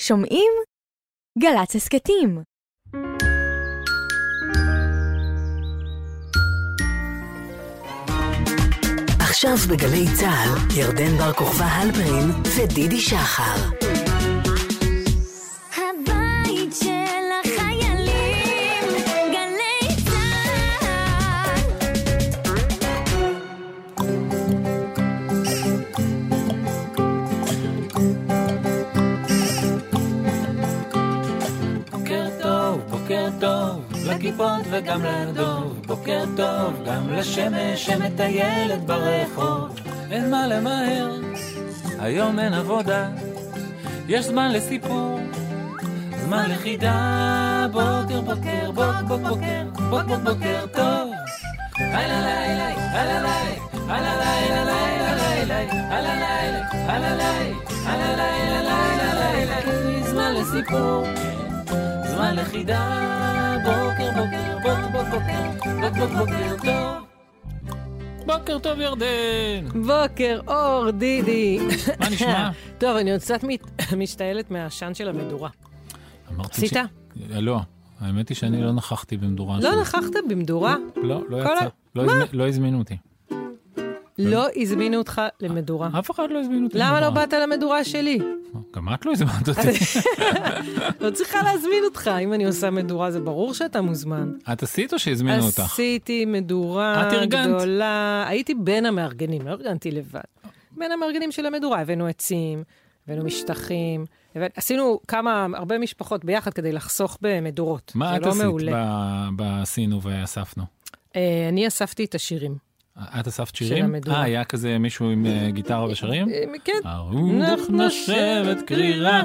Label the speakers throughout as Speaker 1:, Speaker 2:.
Speaker 1: שומעים? גל"צ הסכתים.
Speaker 2: עכשיו בגלי צה"ל, ירדן בר כוכבא הלפרין ודידי שחר.
Speaker 3: הבית של החיילים, גלי צה"ל.
Speaker 4: בוקר טוב, בוקר טוב, לכיפות וגם לדוב. בוקר טוב, גם לשמש שמטיילת ברחוב. אין מה למהר, היום אין עבודה. יש זמן לסיפור, זמן לחידה. בוקר, בוקר, בוק, בוק, בוקר, בוק, בוק, בוקר טוב. הלא לילה, הלא לילה, הלא לילה, לילה, לילה, הלא לילה, הלא לילה, הלא לילה, לילה, לילה. אין לי זמן לסיפור. זמן לחידה, בוקר בוקר בוק בוק בוקר, בוק בוק בוקר טוב. בוקר טוב ירדן!
Speaker 5: בוקר אור, דידי.
Speaker 4: מה נשמע?
Speaker 5: טוב, אני עוד קצת מת- משתעלת מהעשן של המדורה.
Speaker 4: אמרת
Speaker 5: עשית?
Speaker 4: ש- לא, האמת היא שאני לא נכחתי במדורה.
Speaker 5: לא
Speaker 4: שלי.
Speaker 5: נכחת במדורה?
Speaker 4: לא, לא
Speaker 5: כל
Speaker 4: יצא.
Speaker 5: ה-
Speaker 4: לא הזמ- לא הזמינו אותי.
Speaker 5: לא הזמינו אותך למדורה.
Speaker 4: אף אחד לא הזמין אותי.
Speaker 5: למה לא
Speaker 4: למדורה.
Speaker 5: באת למדורה שלי?
Speaker 4: גם את לא הזמנת אותי.
Speaker 5: לא צריכה להזמין אותך. אם אני עושה מדורה, זה ברור שאתה מוזמן.
Speaker 4: את עשית או שהזמינו אותך?
Speaker 5: עשיתי מדורה
Speaker 4: את ארגנת?
Speaker 5: גדולה. הייתי בין המארגנים, לא ארגנתי לבד. בין המארגנים של המדורה, הבאנו עצים, הבאנו משטחים. הבאנו- עשינו כמה, הרבה משפחות ביחד כדי לחסוך במדורות.
Speaker 4: מה
Speaker 5: זה
Speaker 4: את
Speaker 5: לא
Speaker 4: עשית
Speaker 5: מעולה.
Speaker 4: ב- בעשינו ואספנו?
Speaker 5: אה, אני אספתי את השירים.
Speaker 4: את אספת שירים?
Speaker 5: המדורה.
Speaker 4: אה, היה כזה מישהו עם אה, גיטרה ושרים?
Speaker 5: אה, כן,
Speaker 4: הרוח נושבת קרירה.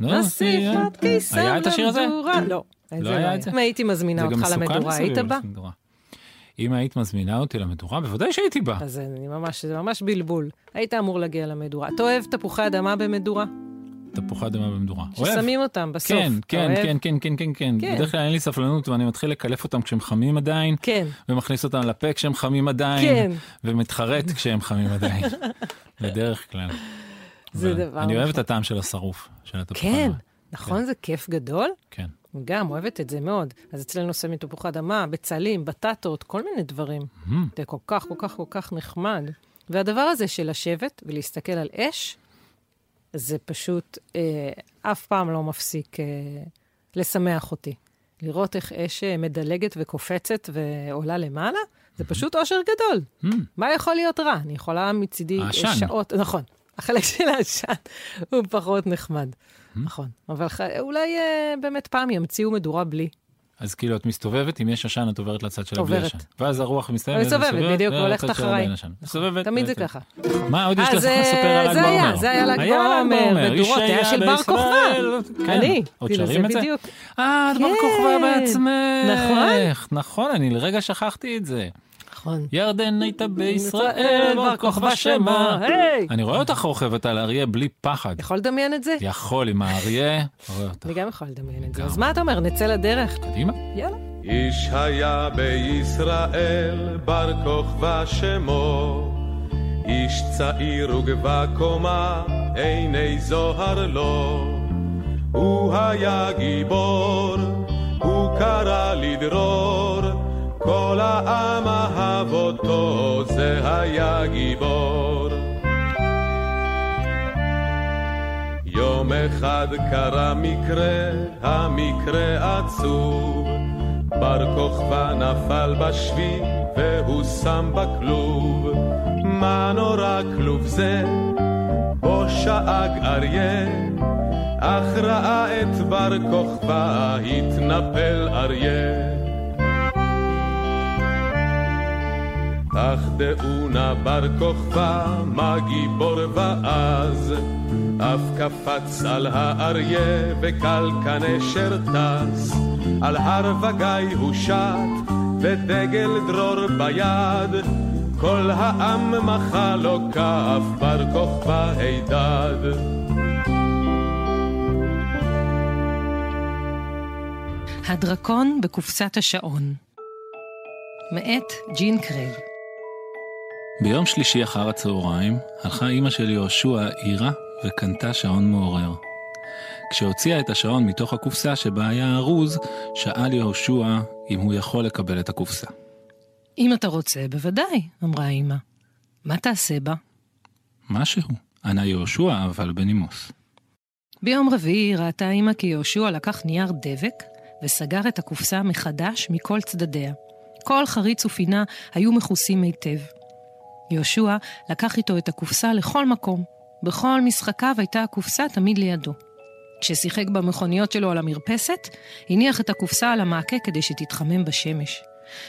Speaker 5: נסיכת קיסר
Speaker 4: היה את השיר הזה?
Speaker 5: למדורה. לא, את
Speaker 4: לא
Speaker 5: זה לא
Speaker 4: היה
Speaker 5: היה.
Speaker 4: את זה?
Speaker 5: אם הייתי מזמינה
Speaker 4: זה גם
Speaker 5: אותך
Speaker 4: מסוכן
Speaker 5: למדורה,
Speaker 4: מסביב
Speaker 5: היית בא?
Speaker 4: למדורה. אם היית מזמינה אותי למדורה, בוודאי שהייתי בא.
Speaker 5: אז אני ממש, זה ממש בלבול. היית אמור להגיע למדורה. אתה אוהב תפוחי אדמה במדורה?
Speaker 4: תפוחי אדמה במדורה. אוהב.
Speaker 5: ששמים אותם בסוף.
Speaker 4: כן,
Speaker 5: אתה
Speaker 4: כן,
Speaker 5: אוהב?
Speaker 4: כן, כן, כן, כן, כן.
Speaker 5: כן.
Speaker 4: בדרך כלל אין לי סבלנות ואני מתחיל לקלף אותם כשהם חמים עדיין,
Speaker 5: כן.
Speaker 4: ומכניס אותם לפה כשהם חמים
Speaker 5: כן.
Speaker 4: עדיין, ומתחרט כשהם חמים עדיין. בדרך כלל.
Speaker 5: זה
Speaker 4: אבל
Speaker 5: דבר
Speaker 4: אני אוהב את
Speaker 5: נכון.
Speaker 4: הטעם של השרוף, של התפוחי
Speaker 5: כן,
Speaker 4: אדמה.
Speaker 5: נכון, זה כיף גדול?
Speaker 4: כן.
Speaker 5: גם, אוהבת את זה מאוד. אז אצלנו שמים תפוחי אדמה, בצלים, בטטות, כל מיני דברים. זה כל כך, כל כך, כל כך נחמד. והדבר הזה של לשבת ולהסתכל על אש, זה פשוט אה, אף פעם לא מפסיק אה, לשמח אותי. לראות איך אש אה, מדלגת וקופצת ועולה למעלה, זה פשוט אושר גדול. מה יכול להיות רע? אני יכולה מצידי אה,
Speaker 4: Mm. העשן.
Speaker 5: שעות, נכון. החלק של העשן הוא פחות נחמד,
Speaker 4: Hmm?
Speaker 5: נכון. אבל ח- אולי אה, באמת פעם ימציאו מדורה בלי.
Speaker 4: אז כאילו את מסתובבת, אם יש עשן את עוברת לצד של הבלי
Speaker 5: עוברת.
Speaker 4: עשן. ואז הרוח מסתובבת,
Speaker 5: מסתובבת, בדיוק,
Speaker 4: ועוברת
Speaker 5: הולכת
Speaker 4: לצד של
Speaker 5: אחריי.
Speaker 4: הבלי עשן. מסתובבת.
Speaker 5: נכון, תמיד זה
Speaker 4: בעצם.
Speaker 5: ככה.
Speaker 4: מה עוד יש
Speaker 5: אה,
Speaker 4: לך
Speaker 5: זה-
Speaker 4: לספר על ל"ג בעומר?
Speaker 5: זה היה, זה היה ל"ג בעומר,
Speaker 4: איש
Speaker 5: מדורות, היה של בר
Speaker 4: בישראל.
Speaker 5: כוכבא.
Speaker 4: כן.
Speaker 5: אני,
Speaker 4: עוד
Speaker 5: כאילו,
Speaker 4: שרים
Speaker 5: זה
Speaker 4: את זה?
Speaker 5: בדיוק.
Speaker 4: אה, את בר
Speaker 5: כן.
Speaker 4: כוכבא בעצמך.
Speaker 5: נכון.
Speaker 4: נכון, אני לרגע שכחתי את זה.
Speaker 5: נכון.
Speaker 4: ירדן הייתה בישראל, בר כוכבא שמה.
Speaker 5: היי!
Speaker 4: אני רואה אותך רוכבת על אריה בלי פחד.
Speaker 5: יכול לדמיין את זה?
Speaker 4: יכול עם האריה. רואה אותך.
Speaker 5: אני גם יכולה לדמיין את זה.
Speaker 4: גם.
Speaker 5: אז מה אתה אומר, נצא לדרך?
Speaker 4: קדימה.
Speaker 5: יאללה.
Speaker 6: איש היה בישראל, בר כוכבא שמו. איש צעיר וגבה קומה, עיני זוהר לו. הוא היה גיבור, הוא קרא לדרור. כל העם אהב אותו, זה היה גיבור. יום אחד קרה מקרה, המקרה עצוב. בר כוכבא נפל בשבי והוא שם בכלוב. מה נורא כלוב זה? בו שאג אריה, אך ראה את בר כוכבא, התנפל אריה. אך דעו נא בר כוכבא, מה גיבור ואז, אף קפץ על האריה וקלקן אשר טס, על הר וגיא הוא שט, ודגל דרור ביד, כל העם מחה לו כף, בר כוכבא הידד.
Speaker 5: הדרקון בקופסת השעון. מאת ג'ין קרייב.
Speaker 4: ביום שלישי אחר הצהריים הלכה אימא של יהושע עירה וקנתה שעון מעורר. כשהוציאה את השעון מתוך הקופסה שבה היה ארוז, שאל יהושע אם הוא יכול לקבל את הקופסה.
Speaker 5: אם אתה רוצה, בוודאי, אמרה האמא. מה תעשה בה?
Speaker 4: משהו, ענה יהושע, אבל בנימוס.
Speaker 5: ביום רביעי ראתה האמא כי יהושע לקח נייר דבק וסגר את הקופסה מחדש מכל צדדיה. כל חריץ ופינה היו מכוסים היטב. יהושע לקח איתו את הקופסה לכל מקום. בכל משחקיו הייתה הקופסה תמיד לידו. כששיחק במכוניות שלו על המרפסת, הניח את הקופסה על המעקה כדי שתתחמם בשמש.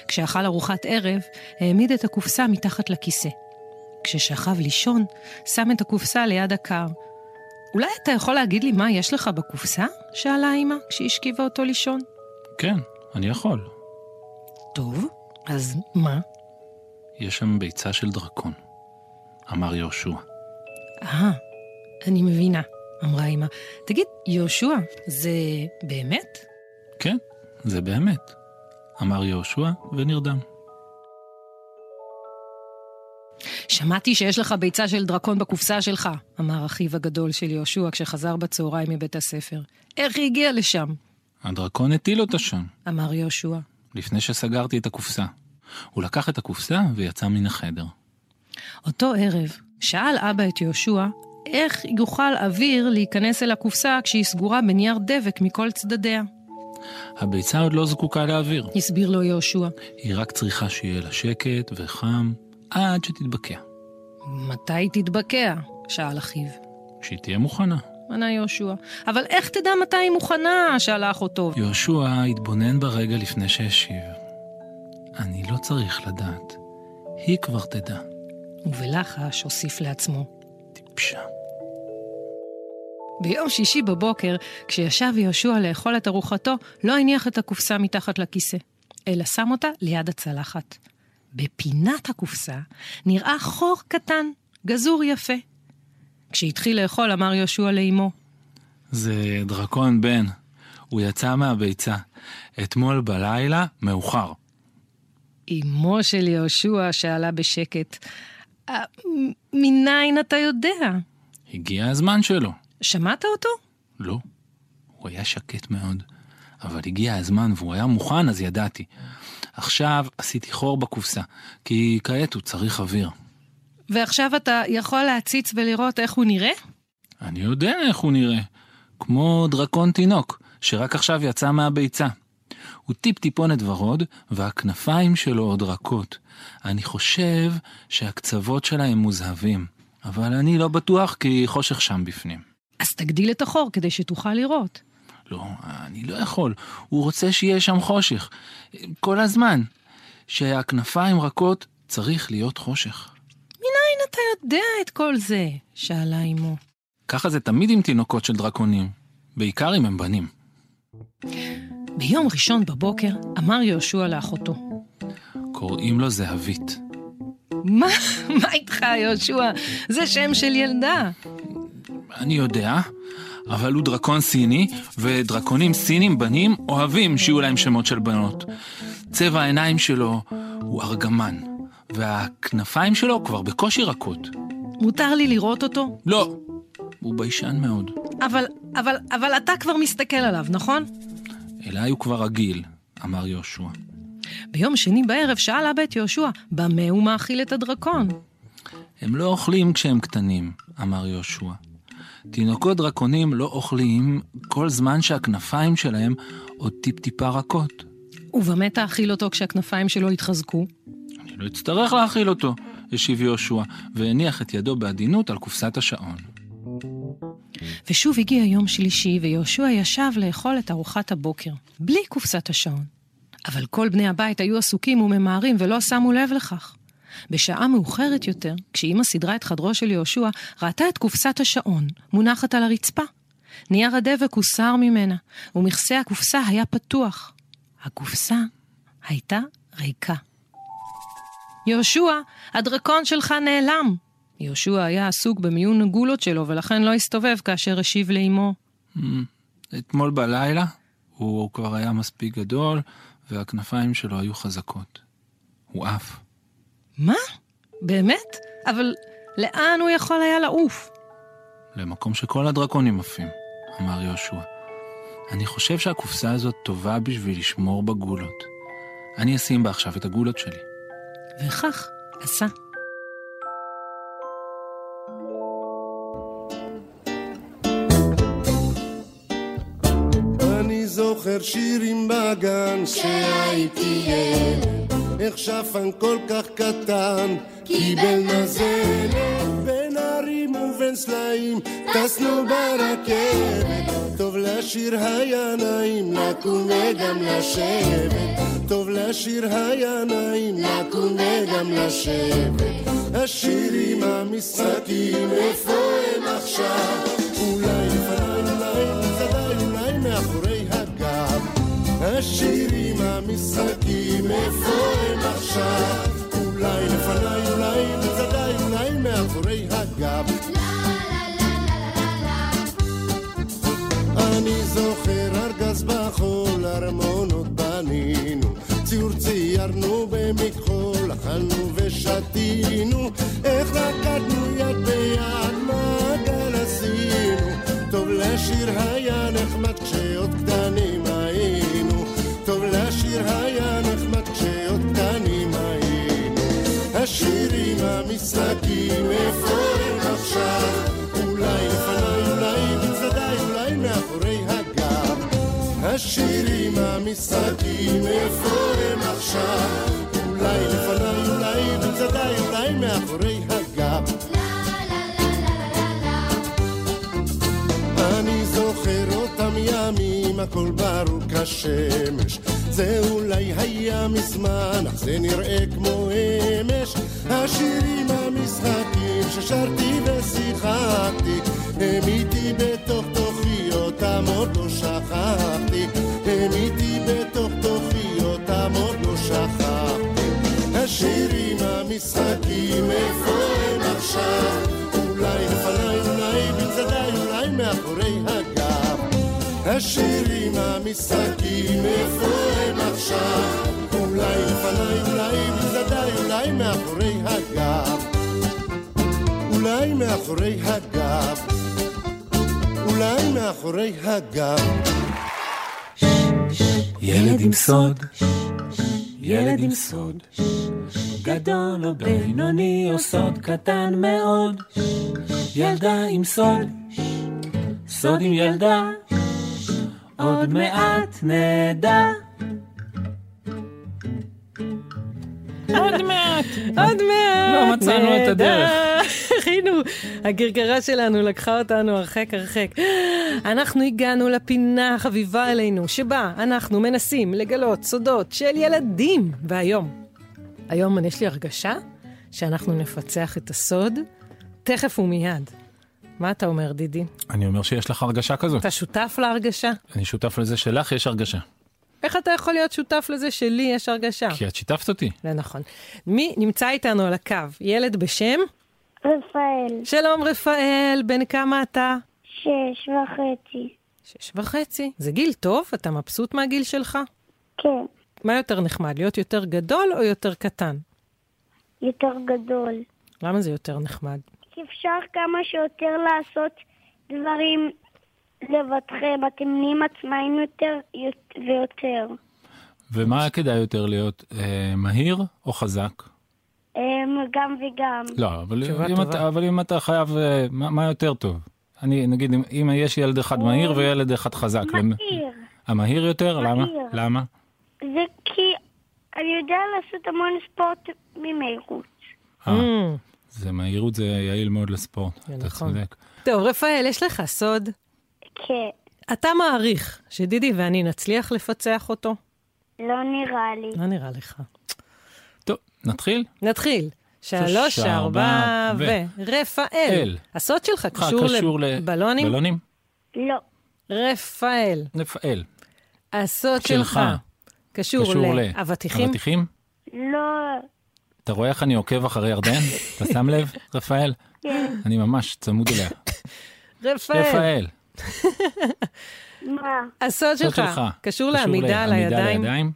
Speaker 5: כשאכל ארוחת ערב, העמיד את הקופסה מתחת לכיסא. כששכב לישון, שם את הקופסה ליד הקר. אולי אתה יכול להגיד לי מה יש לך בקופסה? שאלה האמא כשהשכיבה אותו לישון.
Speaker 4: כן, אני יכול.
Speaker 5: טוב, אז מה?
Speaker 4: יש שם ביצה של דרקון, אמר יהושע.
Speaker 5: אה, אני מבינה, אמרה אמא. תגיד, יהושע, זה באמת?
Speaker 4: כן, זה באמת, אמר יהושע ונרדם.
Speaker 5: שמעתי שיש לך ביצה של דרקון בקופסה שלך, אמר אחיו הגדול של יהושע כשחזר בצהריים מבית הספר. איך היא הגיעה לשם?
Speaker 4: הדרקון הטיל אותה שם,
Speaker 5: אמר יהושע.
Speaker 4: לפני שסגרתי את הקופסה. הוא לקח את הקופסה ויצא מן החדר.
Speaker 5: אותו ערב שאל אבא את יהושע איך יוכל אוויר להיכנס אל הקופסה כשהיא סגורה בנייר דבק מכל צדדיה.
Speaker 4: הביצה עוד לא זקוקה לאוויר,
Speaker 5: הסביר לו יהושע.
Speaker 4: היא רק צריכה שיהיה לה שקט וחם עד שתתבקע.
Speaker 5: מתי היא תתבקע? שאל אחיו.
Speaker 4: כשהיא תהיה מוכנה.
Speaker 5: ענה יהושע. אבל איך תדע מתי היא מוכנה? שאלה אחותו.
Speaker 4: יהושע התבונן ברגע לפני שהשיב. אני לא צריך לדעת, היא כבר תדע.
Speaker 5: ובלחש הוסיף לעצמו.
Speaker 4: טיפשה.
Speaker 5: ביום שישי בבוקר, כשישב יהושע לאכול את ארוחתו, לא הניח את הקופסה מתחת לכיסא, אלא שם אותה ליד הצלחת. בפינת הקופסה נראה חור קטן, גזור יפה. כשהתחיל לאכול, אמר יהושע לאמו,
Speaker 4: זה דרקון בן, הוא יצא מהביצה. אתמול בלילה, מאוחר.
Speaker 5: אמו של יהושע שאלה בשקט, "אה, מ- מניין אתה יודע?
Speaker 4: הגיע הזמן שלו.
Speaker 5: שמעת אותו?
Speaker 4: לא. הוא היה שקט מאוד. אבל הגיע הזמן והוא היה מוכן, אז ידעתי. עכשיו עשיתי חור בקופסה, כי כעת הוא צריך אוויר.
Speaker 5: ועכשיו אתה יכול להציץ ולראות איך הוא נראה?
Speaker 4: אני יודע איך הוא נראה. כמו דרקון תינוק, שרק עכשיו יצא מהביצה. הוא טיפ-טיפונת ורוד, והכנפיים שלו עוד רכות. אני חושב שהקצוות שלהם מוזהבים, אבל אני לא בטוח כי חושך שם בפנים.
Speaker 5: אז תגדיל את החור כדי שתוכל לראות.
Speaker 4: לא, אני לא יכול. הוא רוצה שיהיה שם חושך. כל הזמן. שהכנפיים רכות צריך להיות חושך.
Speaker 5: אין אתה יודע את כל זה? שאלה אמו.
Speaker 4: ככה זה תמיד עם תינוקות של דרקונים. בעיקר אם הם בנים.
Speaker 5: ביום ראשון בבוקר אמר יהושע לאחותו,
Speaker 4: קוראים לו זהבית.
Speaker 5: מה, מה איתך, יהושע? זה שם של ילדה.
Speaker 4: אני יודע, אבל הוא דרקון סיני, ודרקונים סינים בנים אוהבים שיהיו להם שמות של בנות. צבע העיניים שלו הוא ארגמן, והכנפיים שלו כבר בקושי רכות.
Speaker 5: מותר לי לראות אותו?
Speaker 4: לא, הוא ביישן מאוד.
Speaker 5: אבל, אבל, אבל אתה כבר מסתכל עליו, נכון?
Speaker 4: אליי הוא כבר רגיל, אמר יהושע.
Speaker 5: ביום שני בערב שאל אבא את יהושע, במה הוא מאכיל את הדרקון?
Speaker 4: הם לא אוכלים כשהם קטנים, אמר יהושע. תינוקות דרקונים לא אוכלים כל זמן שהכנפיים שלהם עוד טיפ-טיפה רכות.
Speaker 5: ובמה תאכיל אותו כשהכנפיים שלו יתחזקו?
Speaker 4: אני לא אצטרך להאכיל אותו, השיב יהושע, והניח את ידו בעדינות על קופסת השעון.
Speaker 5: ושוב הגיע יום שלישי, ויהושע ישב לאכול את ארוחת הבוקר, בלי קופסת השעון. אבל כל בני הבית היו עסוקים וממהרים ולא שמו לב לכך. בשעה מאוחרת יותר, כשאימא סידרה את חדרו של יהושע, ראתה את קופסת השעון, מונחת על הרצפה. נייר הדבק הוסר ממנה, ומכסה הקופסה היה פתוח. הקופסה הייתה ריקה. יהושע, הדרקון שלך נעלם. יהושע היה עסוק במיון הגולות שלו, ולכן לא הסתובב כאשר השיב לאמו.
Speaker 4: Hmm, אתמול בלילה הוא כבר היה מספיק גדול, והכנפיים שלו היו חזקות. הוא עף.
Speaker 5: מה? באמת? אבל לאן הוא יכול היה לעוף?
Speaker 4: למקום שכל הדרקונים עפים, אמר יהושע. אני חושב שהקופסה הזאת טובה בשביל לשמור בה גולות. אני אשים בה עכשיו את הגולות שלי.
Speaker 5: וכך עשה.
Speaker 7: אני זוכר שירים בגן,
Speaker 3: כשהייתי ילד,
Speaker 7: איך שפן כל כך קטן,
Speaker 3: קיבל נזלת.
Speaker 7: בין הרים ובין סלעים, טסנו ברכבת. טוב לשיר היה נעים, לקום וגם לשבת. טוב לשיר היה נעים, לקום וגם לשבת. השירים המשחקים, איפה הם עכשיו? אולי לפניי, אולי מצדיי, אולי מאחורי הגב. השירים המשחקים, איפה הם עכשיו? אולי לפניי, אולי מצדיי, אולי מאחורי הגב. אני זוכר ארגז בחול, ארמונות בנינו, ציור ציירנו במכחול, אכלנו ושתינו, איך רקדנו יד ביד, מעגל עשינו, טוב לשיר היה נחמד כשעוד קטנים היינו, טוב לשיר היה נחמד כשעוד קטנים היינו. השירים, המשחקים, איפה הם עכשיו? אולי לפניי, אולי בצדדיי, אולי מאחורי הגב. השירים, המשחקים, איפה הם עכשיו? אולי לפניי, אולי בצדדיי, אולי מאחורי הגב. אני זוכר אותם ימים, הכל ברור כשמש. זה אולי היה מזמן, אך זה נראה כמו אמש. השירים המשחקים ששרתי ושיחקתי, הם איתי בתוך תוכי, אותם עוד לא שכחתי. הם איתי בתוך תוכי, אותם עוד לא שכחתי. השירים המשחקים, איפה הם עכשיו? אולי לפניי, אולי בצדיי, אולי מאחורי הגב. השירים המשחקים, איפה הם עכשיו? אולי לפניי, אולי בצדיי, אולי מאחורי הגב. אולי מאחורי הגב. אולי מאחורי הגב.
Speaker 4: ילד עם סוד, ילד עם סוד, גדול או בינוני או סוד קטן מאוד, ילדה עם סוד, סוד עם ילדה, עוד מעט נדע.
Speaker 5: עוד מעט, עוד מעט.
Speaker 4: לא מצאנו את
Speaker 5: נהדר.
Speaker 4: הדרך.
Speaker 5: הנה, הוא, הגרגרה שלנו לקחה אותנו הרחק הרחק. אנחנו הגענו לפינה החביבה עלינו, שבה אנחנו מנסים לגלות סודות של ילדים. והיום, היום יש לי הרגשה שאנחנו נפצח את הסוד תכף ומיד. מה אתה אומר, דידי?
Speaker 4: אני אומר שיש לך הרגשה כזאת.
Speaker 5: אתה שותף להרגשה?
Speaker 4: אני שותף לזה שלך יש הרגשה.
Speaker 5: איך אתה יכול להיות שותף לזה שלי יש הרגשה?
Speaker 4: כי את שיתפת אותי.
Speaker 5: לא נכון. מי נמצא איתנו על הקו? ילד בשם?
Speaker 8: רפאל,
Speaker 5: שלום רפאל, בן כמה אתה?
Speaker 8: שש וחצי.
Speaker 5: שש וחצי. זה גיל טוב, אתה מבסוט מהגיל שלך?
Speaker 8: כן,
Speaker 5: מה יותר נחמד, להיות יותר גדול או יותר קטן?
Speaker 8: יותר גדול.
Speaker 5: למה זה יותר נחמד?
Speaker 8: כי אפשר כמה שיותר לעשות דברים לבדכם, אתם נהיים עצמאים יותר יות- ויותר.
Speaker 4: ומה היה כדאי יותר להיות, אה, מהיר או חזק?
Speaker 8: אמ, גם וגם.
Speaker 4: לא, אבל
Speaker 5: תשובה
Speaker 4: אם,
Speaker 5: טובה.
Speaker 4: אתה, אבל אם אתה חייב, אה, מה, מה יותר טוב? אני, נגיד, אם, אם יש ילד אחד מהיר וילד אחד חזק. למ-
Speaker 8: מהיר.
Speaker 4: המהיר יותר? למה?
Speaker 8: מהיר.
Speaker 4: למה?
Speaker 8: זה כי אני יודע לעשות המון ספורט ממהירות.
Speaker 4: אה, זה מהירות זה יעיל מאוד לספורט.
Speaker 5: Mm. זה
Speaker 4: אתה
Speaker 5: נכון.
Speaker 4: צודק.
Speaker 5: טוב, רפאל, יש לך סוד.
Speaker 8: כן,
Speaker 5: אתה מעריך שדידי ואני נצליח לפצח אותו?
Speaker 8: לא נראה לי.
Speaker 5: מה נראה לך?
Speaker 4: טוב, נתחיל?
Speaker 5: נתחיל. שלוש,
Speaker 4: ארבע,
Speaker 5: ארבע, ו...
Speaker 4: ו-
Speaker 5: רפאל.
Speaker 4: אל.
Speaker 5: הסוד שלך
Speaker 4: אה,
Speaker 5: קשור
Speaker 4: קשור
Speaker 5: לבלונים?
Speaker 4: בלונים?
Speaker 8: לא,
Speaker 5: רפאל,
Speaker 4: לפעל.
Speaker 5: הסוד
Speaker 4: שלך.
Speaker 5: שלך קשור,
Speaker 4: קשור
Speaker 5: לאבטיחים?
Speaker 4: אבטיחים?
Speaker 8: לא,
Speaker 4: אתה רואה איך אני עוקב אחרי ירדן? אתה שם לב, רפאל?
Speaker 8: כן.
Speaker 4: אני ממש צמוד אליה.
Speaker 5: רפאל,
Speaker 4: רפאל,
Speaker 8: מה?
Speaker 5: הסוד
Speaker 4: סוד
Speaker 5: שלך
Speaker 4: שלך.
Speaker 5: קשור לעמידה על
Speaker 4: לעמידה
Speaker 5: הידיים?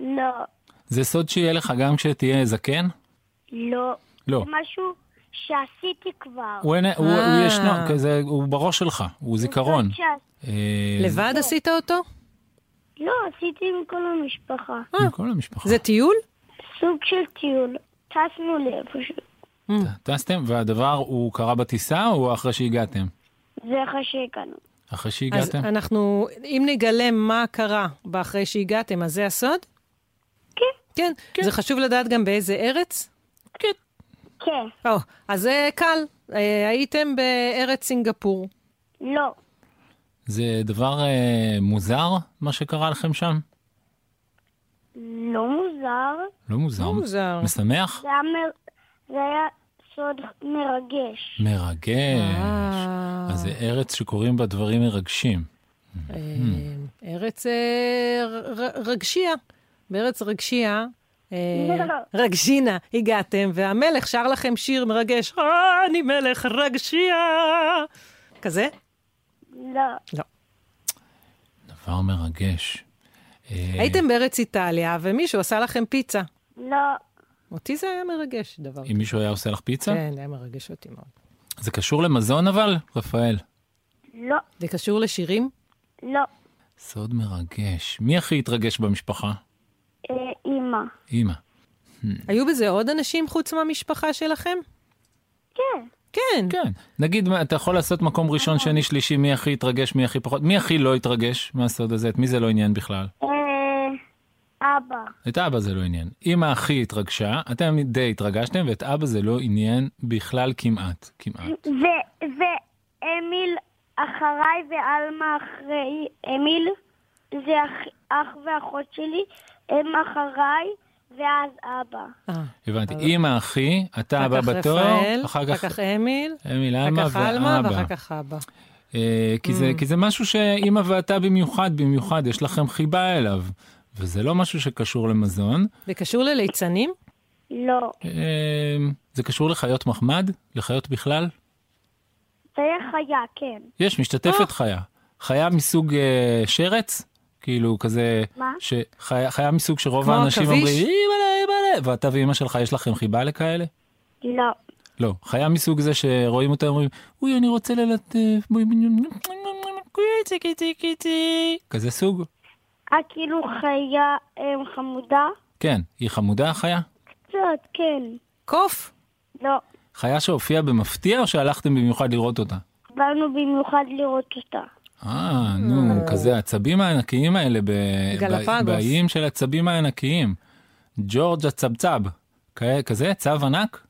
Speaker 8: לא,
Speaker 4: זה סוד שיהיה לך גם כשתהיה זקן?
Speaker 8: לא.
Speaker 4: לא.
Speaker 8: משהו
Speaker 9: שעשיתי כבר.
Speaker 4: הוא אין- הוא- הוא
Speaker 5: אה.
Speaker 4: ישנו, כזה- הוא בראש שלך, הוא זיכרון.
Speaker 9: שעש-
Speaker 4: אה,
Speaker 5: לבד עשית אותו?
Speaker 9: לא, עשיתי עם כל המשפחה.
Speaker 4: עם כל המשפחה.
Speaker 5: זה טיול?
Speaker 9: סוג של טיול. טסנו לאיפשהו.
Speaker 5: אה.
Speaker 4: טסתם, והדבר הוא קרה בטיסה או אחרי שהגעתם?
Speaker 9: זה אחרי שהגענו.
Speaker 4: אחרי
Speaker 5: אז
Speaker 4: שהגעתם?
Speaker 5: אנחנו, אם נגלה מה קרה אחרי שהגעתם, אז זה הסוד?
Speaker 9: כן.
Speaker 5: כן. זה חשוב לדעת גם באיזה ארץ? כן.
Speaker 9: כן.
Speaker 5: או, אז זה קל. אה, הייתם בארץ סינגפור.
Speaker 9: לא.
Speaker 4: זה דבר אה, מוזר, מה שקרה לכם שם?
Speaker 9: לא מוזר.
Speaker 4: לא מוזר.
Speaker 5: לא מוזר.
Speaker 4: משמח?
Speaker 9: זה היה, מר... זה היה סוד מרגש.
Speaker 4: מרגש.
Speaker 5: אה,
Speaker 4: אז זה ארץ שקוראים בה דברים מרגשים. Hmm,
Speaker 5: אה, ארץ אה, ר- ר- רגשיה. בארץ רגשיה, אה,
Speaker 9: לא.
Speaker 5: רגשינה, הגעתם, והמלך שר לכם שיר מרגש, "אה, אני מלך רגשיה. כזה?
Speaker 9: לא.
Speaker 5: לא.
Speaker 4: דבר מרגש. אה,
Speaker 5: הייתם בארץ איטליה, ומישהו עשה לכם פיצה.
Speaker 9: לא.
Speaker 5: אותי זה היה מרגש, דבר.
Speaker 4: אם מישהו היה עושה לך פיצה?
Speaker 5: כן, זה היה מרגש אותי מאוד.
Speaker 4: זה קשור למזון אבל, רפאל?
Speaker 9: לא.
Speaker 5: זה קשור לשירים?
Speaker 9: לא.
Speaker 4: סוד מרגש. מי הכי התרגש במשפחה?
Speaker 9: אה, אימא.
Speaker 4: אימא.
Speaker 5: היו בזה עוד אנשים חוץ מהמשפחה שלכם?
Speaker 9: כן.
Speaker 5: כן.
Speaker 4: כן. נגיד, מה, אתה יכול לעשות מקום ראשון, שני, שלישי, מי הכי התרגש, מי הכי פחות, מי הכי לא התרגש מהסוד הזה? את מי זה לא עניין בכלל?
Speaker 9: אה, אבא.
Speaker 4: את אבא זה לא עניין. אמא הכי התרגשה, אתם די התרגשתם, ואת אבא זה לא עניין בכלל כמעט. כמעט.
Speaker 9: ו- ואמיל אחריי ועלמה אחרי אמיל, זה אח, אח ואחות שלי, הם אחריי ואז אבא.
Speaker 5: אה,
Speaker 4: הבנתי. אמא הכי, אתה
Speaker 5: אחר
Speaker 4: הבא
Speaker 5: כך
Speaker 4: בתור,
Speaker 5: רפאל,
Speaker 4: אחר כך
Speaker 5: אמיל,
Speaker 4: אמיל אמה
Speaker 5: אחר כך עלמה
Speaker 4: ואבא.
Speaker 5: ואחר כך אבא.
Speaker 4: אה, כי זה-
Speaker 5: Mm.
Speaker 4: כי זה משהו שאמא ואתה במיוחד, במיוחד, יש לכם חיבה אליו. וזה לא משהו שקשור למזון.
Speaker 5: זה קשור לליצנים?
Speaker 9: לא.
Speaker 4: אה, זה קשור לחיות מחמד? לחיות בכלל?
Speaker 9: זה חיה, כן.
Speaker 4: יש,
Speaker 5: אה.
Speaker 4: משתתפת חיה. חיה מסוג אה, שרץ? כאילו כזה,
Speaker 9: מה?
Speaker 4: ש- חיה חיה מסוג שרוב
Speaker 5: כמו
Speaker 4: האנשים
Speaker 5: עכביש?
Speaker 4: אומרים, אימא'לה, אימא'לה, ואתה ואימא שלך יש לכם חיבה לכאלה?
Speaker 9: לא.
Speaker 4: לא, חיה מסוג זה שרואים אותה אומרים, אוי, אני רוצה ללטף, בואי, קיצי, קיצי, קיצי. כזה סוג?
Speaker 9: אה, כאילו חיה אה, חמודה?
Speaker 4: כן, היא חמודה החיה?
Speaker 9: קצת, כן.
Speaker 5: קוף?
Speaker 9: לא.
Speaker 4: חיה שהופיעה במפתיע או שהלכתם במיוחד לראות אותה?
Speaker 9: באנו במיוחד לראות אותה.
Speaker 4: אה, נו, כזה העצבים הענקיים האלה, ב- ב-
Speaker 5: גלפגוס.
Speaker 4: באיים של העצבים הענקיים. ג'ורג' הצבצב, כ- כזה צב ענק?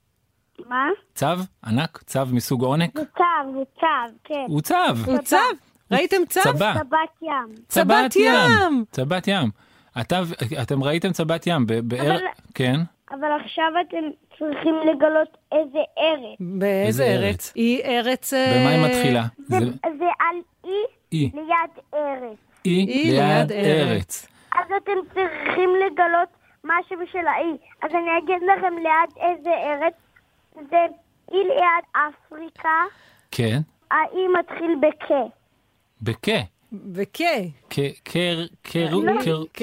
Speaker 9: מה?
Speaker 4: צב ענק? צב מסוג עונק?
Speaker 9: זה צב, זה צב, כן.
Speaker 4: הוא צב,
Speaker 5: הוא צב? ראיתם צב?
Speaker 4: צבע,
Speaker 9: טבעת ים.
Speaker 5: צבת ים.
Speaker 4: צבת ים. אתה ו- אתם ראיתם צבת ים, ב- באר...
Speaker 9: אבל-
Speaker 4: כן,
Speaker 9: אבל עכשיו אתם צריכים לגלות איזה ארץ.
Speaker 5: באיזה
Speaker 4: איזה
Speaker 5: ארץ?
Speaker 4: ארץ?
Speaker 5: היא ארץ... אה,
Speaker 4: במה היא מתחילה? זה
Speaker 9: זה על אי
Speaker 4: אי,
Speaker 9: ליד ארץ.
Speaker 4: אי
Speaker 5: אי
Speaker 4: ליד
Speaker 5: ליד
Speaker 4: ארץ.
Speaker 9: אז אתם צריכים לגלות משהו של האי. אז אני אגיד לכם ליד איזה ארץ. זה אי ליד אפריקה,
Speaker 4: כן,
Speaker 9: האי מתחיל בכ.
Speaker 4: בכ.
Speaker 5: בכ...
Speaker 4: כ... כר... כרו...
Speaker 5: לא.
Speaker 4: כר...
Speaker 5: כ...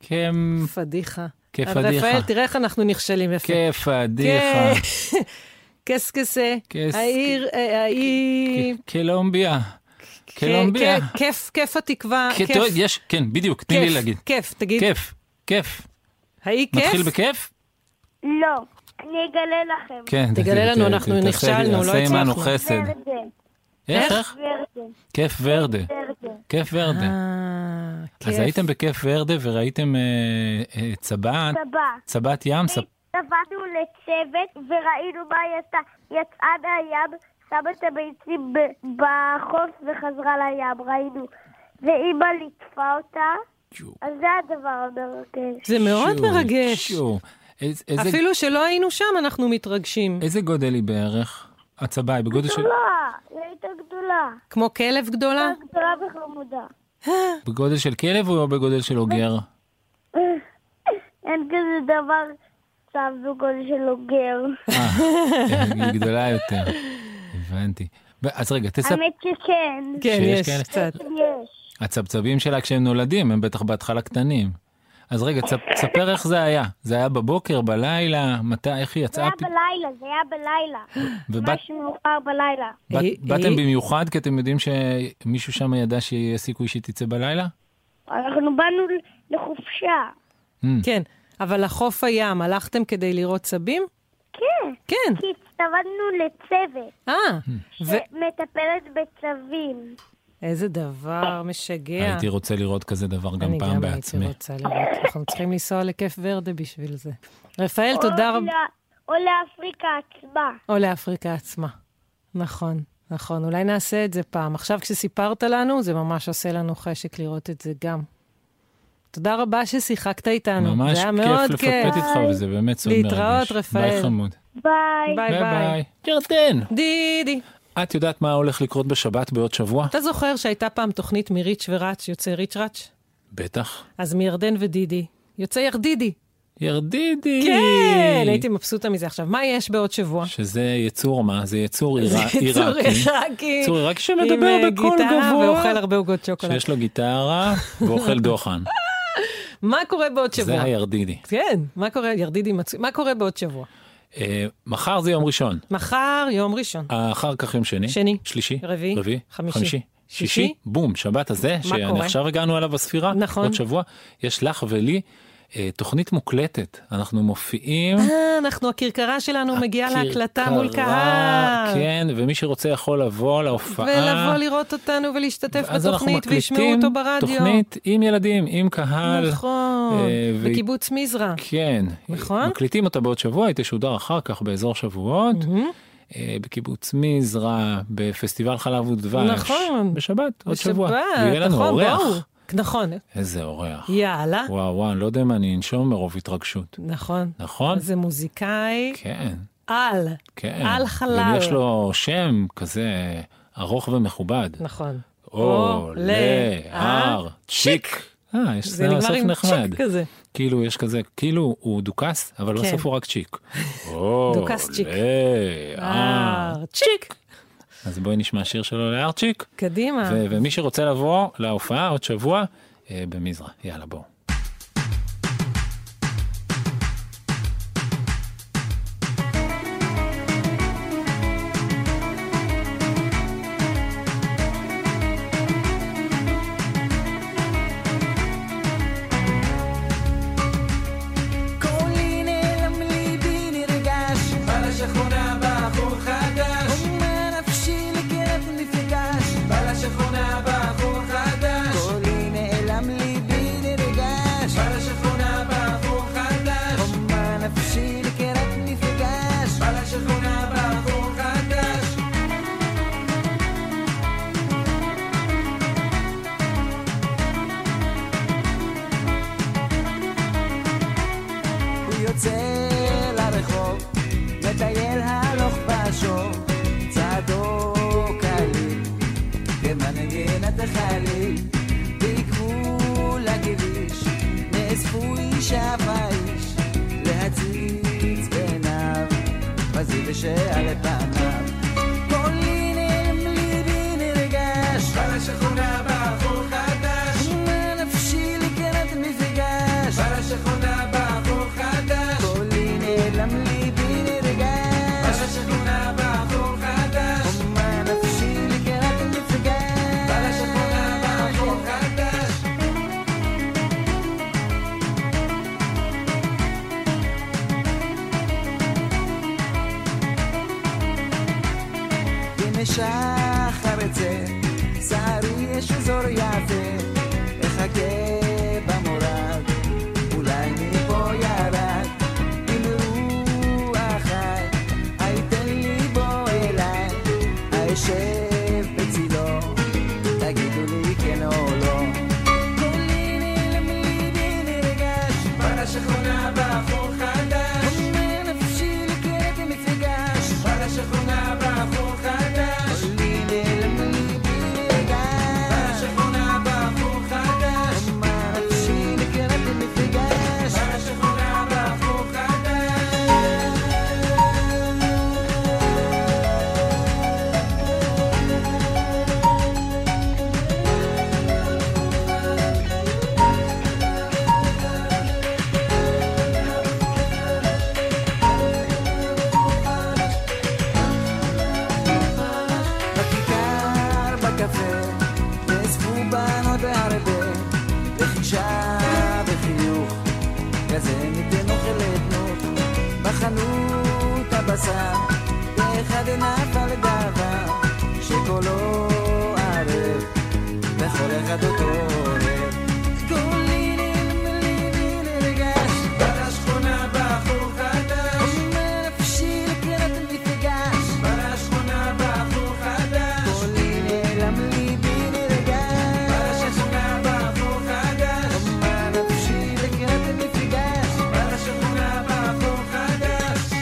Speaker 4: כמ...
Speaker 5: פדיחה.
Speaker 4: כפדיחה.
Speaker 5: אז רפאל, אה, תראה איך אנחנו נכשלים יפה. כן.
Speaker 4: כפדיחה.
Speaker 5: כ- קסקסה.
Speaker 4: קס-
Speaker 5: העיר... אה, העיר...
Speaker 4: כ- קלומביה. קלומביה.
Speaker 5: כ- כיף, כיף התקווה.
Speaker 4: כ-
Speaker 5: כיף.
Speaker 4: טוב, יש, כן, בדיוק, תני לי
Speaker 5: כיף,
Speaker 4: להגיד.
Speaker 5: כיף, תגיד.
Speaker 4: כיף, כיף.
Speaker 5: האי כיף?
Speaker 4: מתחיל בכיף?
Speaker 9: לא. אני אגלה לכם.
Speaker 4: כן.
Speaker 5: תגלה
Speaker 4: תעשי-
Speaker 5: לנו,
Speaker 4: ת-
Speaker 5: אנחנו
Speaker 4: ת- תעשה-
Speaker 5: נכשלנו, לא
Speaker 4: תעשה עמנו
Speaker 5: הצלחנו.
Speaker 4: חסד.
Speaker 9: ורדה,
Speaker 4: איך?
Speaker 5: איך?
Speaker 4: איך? כן.
Speaker 9: ורדה,
Speaker 4: כיף ורדה.
Speaker 9: ורדה.
Speaker 4: כיף ורדה.
Speaker 5: אה,
Speaker 4: אז
Speaker 5: כיף.
Speaker 4: הייתם בכיף ורדה וראיתם אה, אה, צבת,
Speaker 9: סבא.
Speaker 4: צבת ים? סב-
Speaker 9: עבדנו לצוות וראינו מה היא עשתה. היא יצאה מהים, שמה את הביצים ב- בחוף וחזרה לים, ראינו. ואימא ליטפה אותה, אז זה הדבר המרגש.
Speaker 5: זה מאוד
Speaker 4: שו,
Speaker 5: מרגש.
Speaker 4: שו. איזה- איזה-
Speaker 5: אפילו שלא היינו שם, אנחנו מתרגשים.
Speaker 4: איזה גודל היא בערך? הצבה היא בגודל של-
Speaker 9: גדולה, לא, היא הייתה גדולה.
Speaker 5: כמו כלב גדולה?
Speaker 9: גדולה וחמודה.
Speaker 5: אה.
Speaker 4: בגודל של כלב או בגודל של אוגר?
Speaker 9: אין כזה דבר צב בגודל של אוגר.
Speaker 4: אה, היא גדולה יותר. הבנתי. אז רגע, תספר.
Speaker 9: האמת שכן,
Speaker 5: כן,
Speaker 4: שיש
Speaker 5: יש
Speaker 4: כאלה.
Speaker 5: קצת.
Speaker 9: יש.
Speaker 4: הצבצבים שלה כשהם נולדים, הם בטח בהתחלה קטנים. אז רגע, תס- תספר איך זה היה. זה היה בבוקר, בלילה, מתי, איך
Speaker 9: זה
Speaker 4: היא יצאה?
Speaker 9: היה
Speaker 4: פ-
Speaker 9: בלילה, זה היה בלילה.
Speaker 4: ובאת-
Speaker 9: משהו מאוחר בלילה.
Speaker 4: באת-
Speaker 5: היא-
Speaker 4: באתם
Speaker 5: היא-
Speaker 4: במיוחד כי אתם יודעים שמישהו שם ידע שיהיה סיכוי שהיא תצא בלילה?
Speaker 9: אנחנו באנו לחופשה.
Speaker 4: Mm.
Speaker 5: כן, אבל לחוף הים, הלכתם כדי לראות צבים?
Speaker 9: כן,
Speaker 5: כן.
Speaker 9: כי הצטרפנו לצוות
Speaker 5: אה, ו...
Speaker 9: שמטפלת בצווים.
Speaker 5: איזה דבר משגע.
Speaker 4: הייתי רוצה לראות כזה דבר גם
Speaker 5: אני
Speaker 4: פעם
Speaker 5: גם הייתי
Speaker 4: בעצמי.
Speaker 5: רוצה לראות. אנחנו צריכים לנסוע לכיף ורדה בשביל זה. רפאל, תודה
Speaker 9: או
Speaker 5: רבה.
Speaker 9: לא- או לאפריקה עצמה.
Speaker 5: או לאפריקה עצמה. נכון, נכון. אולי נעשה את זה פעם. עכשיו כשסיפרת לנו, זה ממש עושה לנו חשק לראות את זה גם. תודה רבה ששיחקת איתנו.
Speaker 4: ממש
Speaker 5: זה היה
Speaker 4: כיף
Speaker 5: מאוד כיף.
Speaker 4: לפטפט איתך, וזה באמת סוד מרגש.
Speaker 5: להתראות,
Speaker 4: ביי
Speaker 5: רפאל.
Speaker 4: חמוד.
Speaker 9: ביי.
Speaker 5: ביי ביי.
Speaker 4: ירדן,
Speaker 5: דידי.
Speaker 4: את יודעת מה הולך לקרות בשבת בעוד שבוע?
Speaker 5: אתה זוכר שהייתה פעם תוכנית מריץ' וראץ', יוצא ריץ' ראץ'?
Speaker 4: בטח.
Speaker 5: אז מירדן ודידי. יוצא ירדידי.
Speaker 4: ירדידי!
Speaker 5: כן, הייתי מבסוטה מזה. עכשיו, מה יש בעוד שבוע?
Speaker 4: שזה יצור מה? זה יצור עירא-
Speaker 5: זה יצור
Speaker 4: עיראקי.
Speaker 5: עיראקי.
Speaker 4: יצור עיראקי
Speaker 5: עם
Speaker 4: שמדבר
Speaker 5: אה,
Speaker 4: בקול
Speaker 5: גיטרה
Speaker 4: גבוה.
Speaker 5: ואוכל הרבה עוגות שוקולד.
Speaker 4: שיש לו גיטרה ואוכל דוחן.
Speaker 5: מה קורה בעוד שבוע?
Speaker 4: זה הירדידי.
Speaker 5: כן, מה קורה, ירדידי מצוי, מה קורה בעוד שבוע?
Speaker 4: אה, מחר זה יום ראשון,
Speaker 5: מחר, יום ראשון.
Speaker 4: אחר כך יום שני.
Speaker 5: שני.
Speaker 4: שלישי.
Speaker 5: רביעי. חמישי.
Speaker 4: חמישי.
Speaker 5: שישי.
Speaker 4: שישי. בום, שבת הזה,
Speaker 5: קורה?
Speaker 4: שעכשיו הגענו אליו בספירה.
Speaker 5: נכון.
Speaker 4: עוד שבוע. יש לך ולי אה, תוכנית מוקלטת. אנחנו מופיעים.
Speaker 5: אה, אנחנו, הכרכרה שלנו מגיעה להקלטה מול
Speaker 4: כרכרה,
Speaker 5: קהל.
Speaker 4: כן, ומי שרוצה יכול לבוא להופעה.
Speaker 5: ולבוא לראות אותנו ולהשתתף
Speaker 4: ואז אנחנו
Speaker 5: בתוכנית וישמעו
Speaker 4: מקליטים
Speaker 5: אותו ברדיו.
Speaker 4: תוכנית עם ילדים, עם קהל.
Speaker 5: נכון,
Speaker 4: אה, והיא-
Speaker 5: בקיבוץ מזרע.
Speaker 4: כן.
Speaker 5: נכון?
Speaker 4: מקליטים אותה בעוד שבוע, היא תשודר אחר כך באזור שבועות. אה, בקיבוץ מזרע, בפסטיבל חלב ודבש.
Speaker 5: נכון.
Speaker 4: בשבת, עוד
Speaker 5: בשבת,
Speaker 4: שבוע. ויהיה לנו
Speaker 5: נכון,
Speaker 4: אורח.
Speaker 5: בואו. נכון,
Speaker 4: איזה אורח.
Speaker 5: יאללה.
Speaker 4: וואו, וואו, אני לא יודע אם אני אנשום מרוב התרגשות.
Speaker 5: נכון.
Speaker 4: נכון?
Speaker 5: זה מוזיקאי
Speaker 4: כן,
Speaker 5: על.
Speaker 4: כן.
Speaker 5: על
Speaker 4: גם
Speaker 5: חלל.
Speaker 4: יש לו שם כזה ארוך ומכובד.
Speaker 5: נכון.
Speaker 4: עולה, הר, צ'יק. אה, יש
Speaker 5: זה
Speaker 4: סצנה
Speaker 5: נגמר
Speaker 4: בסוף
Speaker 5: עם
Speaker 4: נחמד.
Speaker 5: צ'יק כזה.
Speaker 4: כאילו יש כזה, כאילו הוא דוכס, אבל
Speaker 5: כן.
Speaker 4: בסוף הוא רק צ'יק.
Speaker 5: דוכס צ'יק.
Speaker 4: עולה, הר.
Speaker 5: אה, צ'יק.
Speaker 4: אז בואי נשמע שיר שלו לארצ'יק.
Speaker 5: קדימה.
Speaker 4: ו- ומי שרוצה לבוא להופעה עוד שבוע, אה, במזרע. יאללה, בואו.
Speaker 10: קולי נעלם ליבי נרגש בא לשכונה בא בחור חדש ומה נפשי לקראת מפגש בא לשכונה בא בחור חדש קולי נעלם ליבי נרגש בא לשכונה בא בחור חדש ומה נפשי לקראת מפגש בא לשכונה בא בחור חדש הוא יוצא לרחוב, מטייל הלוך ושוב, צעדו קליל, כמנגינת החליל, בגבול הגביש, נאספו אישה ואיש, להציץ בעיניו, בזיו שעל פניו. קולי נעלם ליבי נרגש, בא לשכונה בחור חדש, ומה נפשי לקראת מפגש, בא לשכונה בחור חדש, קולי נעלם ליבי נרגש, בא לשכונה בחור חדש, ומה נפשי לקראת מפגש, בא לשכונה בחור חדש. הנה שחר יצא, שערי יש אזור יפה, אחכה במורד, אולי מפה ירד, אם רוח חי, הייתן לי בוא אליי, האשב בצילו, תגידו לי כן או לא. קולי נעלם ליבי נרגש, בא לשכונה בחור חדש, אומר נפשי לקראת מפגש, בא לשכונה בחור חדש, קולי נעלם ליבי נרגש, בא לשכונה בחור חדש, אומר נפשי לקראת מפגש, בא לשכונה בחור חדש. קפה, נאספו בנות בהרבה, לחישה וחיוך, כזה ניתן אוכל לבנות, בחנות הבשר, ואחד נפל גאווה, שקולו ערב, לכל אחד אותו ערב. קולי נלמלי ונרגש, בא לשכונה בחור חדש, אומר נפשי לקראת מפגש, בא לשכונה בחור חדש, קולי נעלם לי ונרגש, בא לשכונה בחור חדש, אומר נפשי לקראת מפגש, בא לשכונה בחור חדש.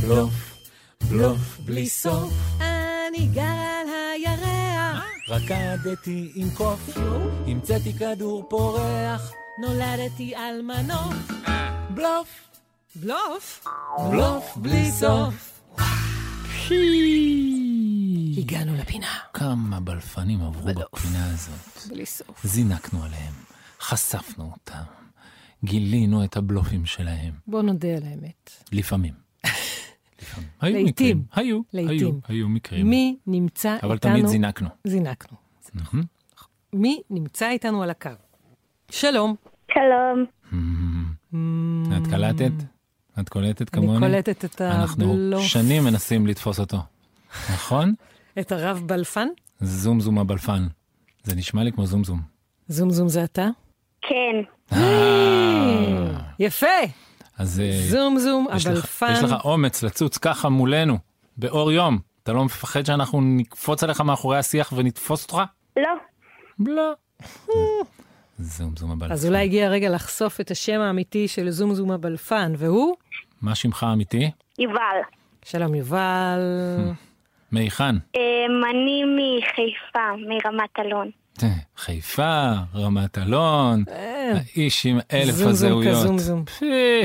Speaker 4: בלוף, בלוף בלי סוף.
Speaker 5: אני גר על הירח.
Speaker 4: רקדתי עם קוף, המצאתי כדור פורח,
Speaker 5: נולדתי על מנוף.
Speaker 4: בלוף,
Speaker 5: בלוף?
Speaker 4: בלוף בלי סוף.
Speaker 5: הגענו לפינה.
Speaker 4: כמה בלפנים עברו בפינה הזאת.
Speaker 5: בלי סוף.
Speaker 4: זינקנו עליהם, חשפנו אותם, גילינו את הבלופים שלהם,
Speaker 5: בוא נודה על האמת.
Speaker 4: לפעמים. לפעמים. היו
Speaker 5: לעתים.
Speaker 4: מקרים, היו, היו,
Speaker 5: לעתים.
Speaker 4: היו מקרים,
Speaker 5: מי נמצא איתנו...
Speaker 4: אבל תמיד זינקנו.
Speaker 5: זינקנו.
Speaker 4: נכון.
Speaker 5: מי נמצא איתנו על הקו? שלום.
Speaker 8: שלום.
Speaker 4: את קלטת? את קולטת
Speaker 5: אני
Speaker 4: כמוני?
Speaker 5: קולטת את
Speaker 4: אנחנו
Speaker 5: הבלוף,
Speaker 4: שנים מנסים לתפוס אותו, נכון?
Speaker 5: את הרב בלפן.
Speaker 4: זום זום הבלפן. זה נשמע לי כמו זום זום.
Speaker 5: זום זום זה אתה.
Speaker 8: כן.
Speaker 4: אה.
Speaker 5: יפה!
Speaker 4: אז אה,
Speaker 5: זום זום,
Speaker 4: יש לך-
Speaker 5: הבלפן.
Speaker 4: יש לך אומץ לצוץ ככה מולנו, באור יום. אתה לא מפחד שאנחנו נקפוץ עליך מאחורי השיח ונתפוס אותך?
Speaker 8: לא.
Speaker 4: לא. זום זום הבלפן.
Speaker 5: אז אולי הגיע הרגע לחשוף את השם האמיתי של זום זום הבלפן, והוא?
Speaker 4: מה שמך האמיתי?
Speaker 8: יובל.
Speaker 5: שלום יובל.
Speaker 4: מהיכן?
Speaker 8: אמ, אני מחיפה, מרמת אלון.
Speaker 4: אה, חיפה, רמת אלון, האיש עם אלף
Speaker 5: אה. זום זום
Speaker 4: הזהויות.
Speaker 5: כזום זום.
Speaker 4: פי,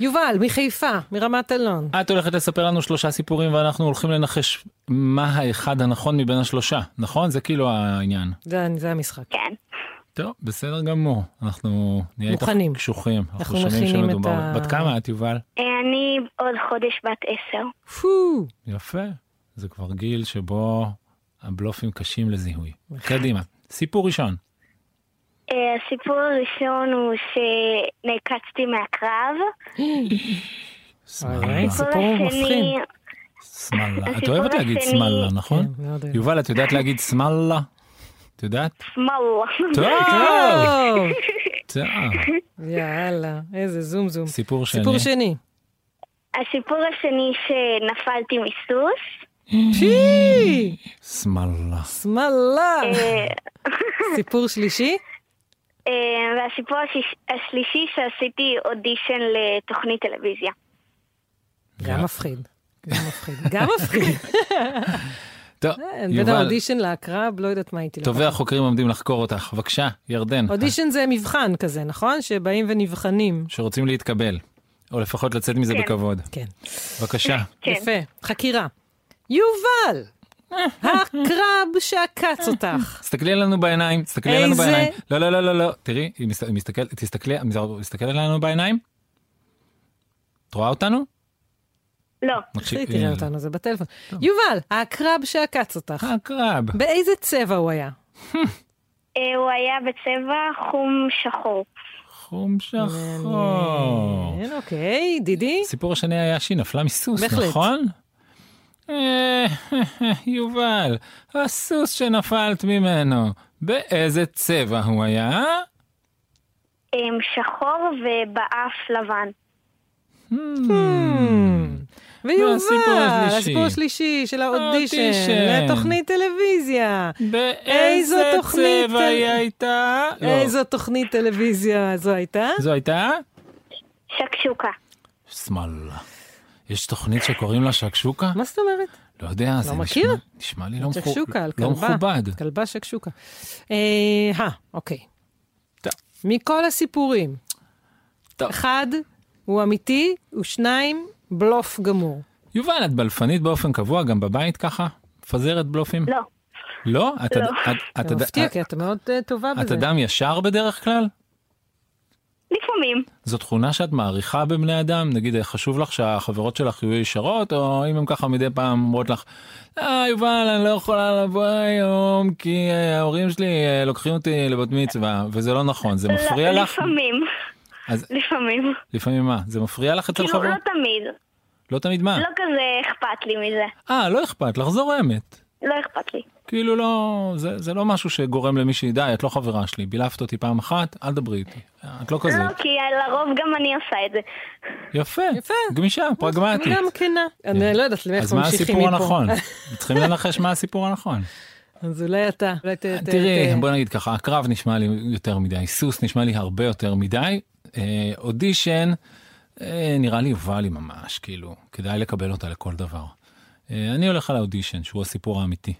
Speaker 5: יובל, מחיפה, מרמת אלון.
Speaker 4: את הולכת לספר לנו שלושה סיפורים ואנחנו הולכים לנחש מה האחד הנכון מבין השלושה, נכון? זה כאילו העניין.
Speaker 5: זה, זה המשחק.
Speaker 8: כן.
Speaker 4: טוב, בסדר גמור. אנחנו נהיה איתך
Speaker 5: מוכנים.
Speaker 4: קשוחים. אנחנו
Speaker 5: אנחנו
Speaker 4: שומעים
Speaker 5: מכינים
Speaker 4: שמדובר.
Speaker 5: את ה-
Speaker 4: בת כמה את, יובל?
Speaker 8: אה, אני עוד חודש בת עשר.
Speaker 5: פו!
Speaker 4: יפה. זה כבר גיל שבו הבלופים קשים לזיהוי.
Speaker 5: אוקיי.
Speaker 4: קדימה. סיפור ראשון.
Speaker 8: אה, הסיפור הראשון הוא שנעקצתי מהקרב.
Speaker 5: אה,
Speaker 4: שמאלה.
Speaker 5: סיפור מפחיד.
Speaker 4: שמאלה. את
Speaker 8: הסיפור
Speaker 4: אוהבת להגיד
Speaker 8: השני-
Speaker 4: שמאלה, נכון?
Speaker 5: כן, מאוד אוהבת.
Speaker 4: יובל, את יודעת להגיד שמאלה? את יודעת?
Speaker 8: מאו.
Speaker 4: טוב!
Speaker 5: טוב!
Speaker 4: טוב.
Speaker 5: יאללה, איזה זום זום.
Speaker 4: אה. סיפור שני.
Speaker 5: סיפור שני.
Speaker 8: הסיפור השני שנפלתי מסוס.
Speaker 5: שי!
Speaker 4: שמאלה.
Speaker 5: שמאלה!
Speaker 8: אה,
Speaker 5: סיפור שלישי?
Speaker 8: אה, והסיפור השיש- השלישי שעשיתי אודישן לתוכנית טלוויזיה.
Speaker 5: גם מפחיד. גם מפחיד. גם מפחיד.
Speaker 4: טוב,
Speaker 5: כן, בין
Speaker 4: יובל,
Speaker 5: האודישן לעקרב, לא יודעת מה הייתי לוקחת.
Speaker 4: טובי החוקרים עומדים לחקור אותך. בבקשה, ירדן.
Speaker 5: אודישן זה מבחן כזה, נכון? שבאים ונבחנים.
Speaker 4: שרוצים להתקבל, או לפחות לצאת מזה בכבוד.
Speaker 5: כן.
Speaker 4: בבקשה.
Speaker 8: כן. אה.
Speaker 5: יפה. חקירה. יובל! הקרב שעקץ אותך.
Speaker 4: תסתכלי עלינו בעיניים, תסתכלי עלינו
Speaker 5: איזה-
Speaker 4: בעיניים. לא, לא, לא, לא, לא. תראי, היא מסת- היא מסתכלת, תסתכלי, תסתכל עלינו בעיניים. את רואה אותנו?
Speaker 8: לא.
Speaker 4: מקשיב-
Speaker 5: תראי, תראה
Speaker 4: אה,
Speaker 5: אותנו, זה בטלפון. יובל, הקרב שעקץ אותך.
Speaker 4: הקרב.
Speaker 5: באיזה צבע הוא היה?
Speaker 8: אה, הוא היה בצבע חום שחור.
Speaker 4: חום שחור.
Speaker 5: כן, אוקיי, דידי.
Speaker 4: הסיפור השני היה שהיא נפלה מסוס,
Speaker 5: בהחלט.
Speaker 4: נכון? אה, יובל, הסוס שנפלת ממנו, באיזה צבע הוא היה?
Speaker 8: אמ, שחור ובאף לבן.
Speaker 3: Hmm.
Speaker 5: ויובל,
Speaker 2: Hmm.
Speaker 4: והסיפור השלישי.
Speaker 5: הסיפור השלישי של האודישן
Speaker 4: האודישן.
Speaker 5: לתוכנית טלוויזיה.
Speaker 4: באיזה
Speaker 5: איזו תוכנית
Speaker 4: צבע
Speaker 5: טל-
Speaker 4: היא הייתה? לא.
Speaker 5: איזו תוכנית טלוויזיה זו הייתה?
Speaker 4: זו הייתה?
Speaker 8: שקשוקה.
Speaker 4: שמאלה. יש תוכנית שקוראים לה שקשוקה?
Speaker 5: מה זאת אומרת?
Speaker 4: לא יודע, זה נשמע-
Speaker 5: מכיר?
Speaker 4: נשמע לי לא מכו-
Speaker 5: שקשוקה, על
Speaker 4: לא
Speaker 5: כלבה.
Speaker 4: מכובד.
Speaker 5: כלבה שקשוקה. אה, הא, אוקיי.
Speaker 4: טוב.
Speaker 5: מכל הסיפורים,
Speaker 4: טוב.
Speaker 5: אחד, הוא אמיתי, ושניים, בלוף גמור.
Speaker 4: יובל, את בלפנית באופן קבוע, גם בבית ככה? מפזרת בלופים?
Speaker 8: לא.
Speaker 4: לא? את-
Speaker 8: לא.
Speaker 4: את- את-
Speaker 5: זה מפתיע,
Speaker 4: את-
Speaker 5: כי את מאוד אה, טובה
Speaker 4: את
Speaker 5: בזה.
Speaker 4: אדם ישר בדרך כלל?
Speaker 8: לפעמים.
Speaker 4: זו תכונה שאת מעריכה בבני אדם? נגיד, חשוב לך שהחברות שלך יהיו ישרות, או אם הן ככה מדי פעם אומרות לך, אה, יובל, אני לא יכולה לבוא היום, כי אה, ההורים שלי אה, לוקחים אותי לבת מצווה, וזה לא נכון, זה מפריע
Speaker 8: לא,
Speaker 4: לך?
Speaker 8: לפעמים.
Speaker 4: אז
Speaker 8: לפעמים.
Speaker 4: לפעמים מה? זה מפריע לך אצל
Speaker 8: כאילו,
Speaker 4: חברות?
Speaker 8: לא תמיד.
Speaker 4: לא תמיד מה?
Speaker 8: לא כזה אכפת לי מזה.
Speaker 4: אה, לא אכפת לך, זו אמת.
Speaker 8: לא אכפת לי.
Speaker 4: כאילו לא, זה, זה לא משהו שגורם למישהי, די, את לא חברה שלי, בילפת אותי פעם אחת, אל דברי איתי. את לא כזאת.
Speaker 8: לא, כי לרוב גם אני עושה את זה.
Speaker 4: יפה,
Speaker 5: אה, יפה.
Speaker 4: גמישה, פרגמטית.
Speaker 5: גם כנה. אני לא יודעת למי איך
Speaker 4: כן. אז מה
Speaker 5: ממשיכים
Speaker 4: הסיפור
Speaker 5: מפה.
Speaker 4: הנכון? צריכים לנחש מה הסיפור הנכון.
Speaker 5: אז אולי אתה. אולי ת- ת-
Speaker 4: תראי,
Speaker 5: ת-
Speaker 4: בוא נגיד ככה, הקרב נשמע לי יותר מדי, סוס נשמע לי הרבה יותר מדי, אה, אודישן, אה, נראה לי יובל היא ממש, כאילו, כדאי לקבל אותה לכל דבר. אה, אני הולך על האודישן, שהוא הסיפור האמיתי.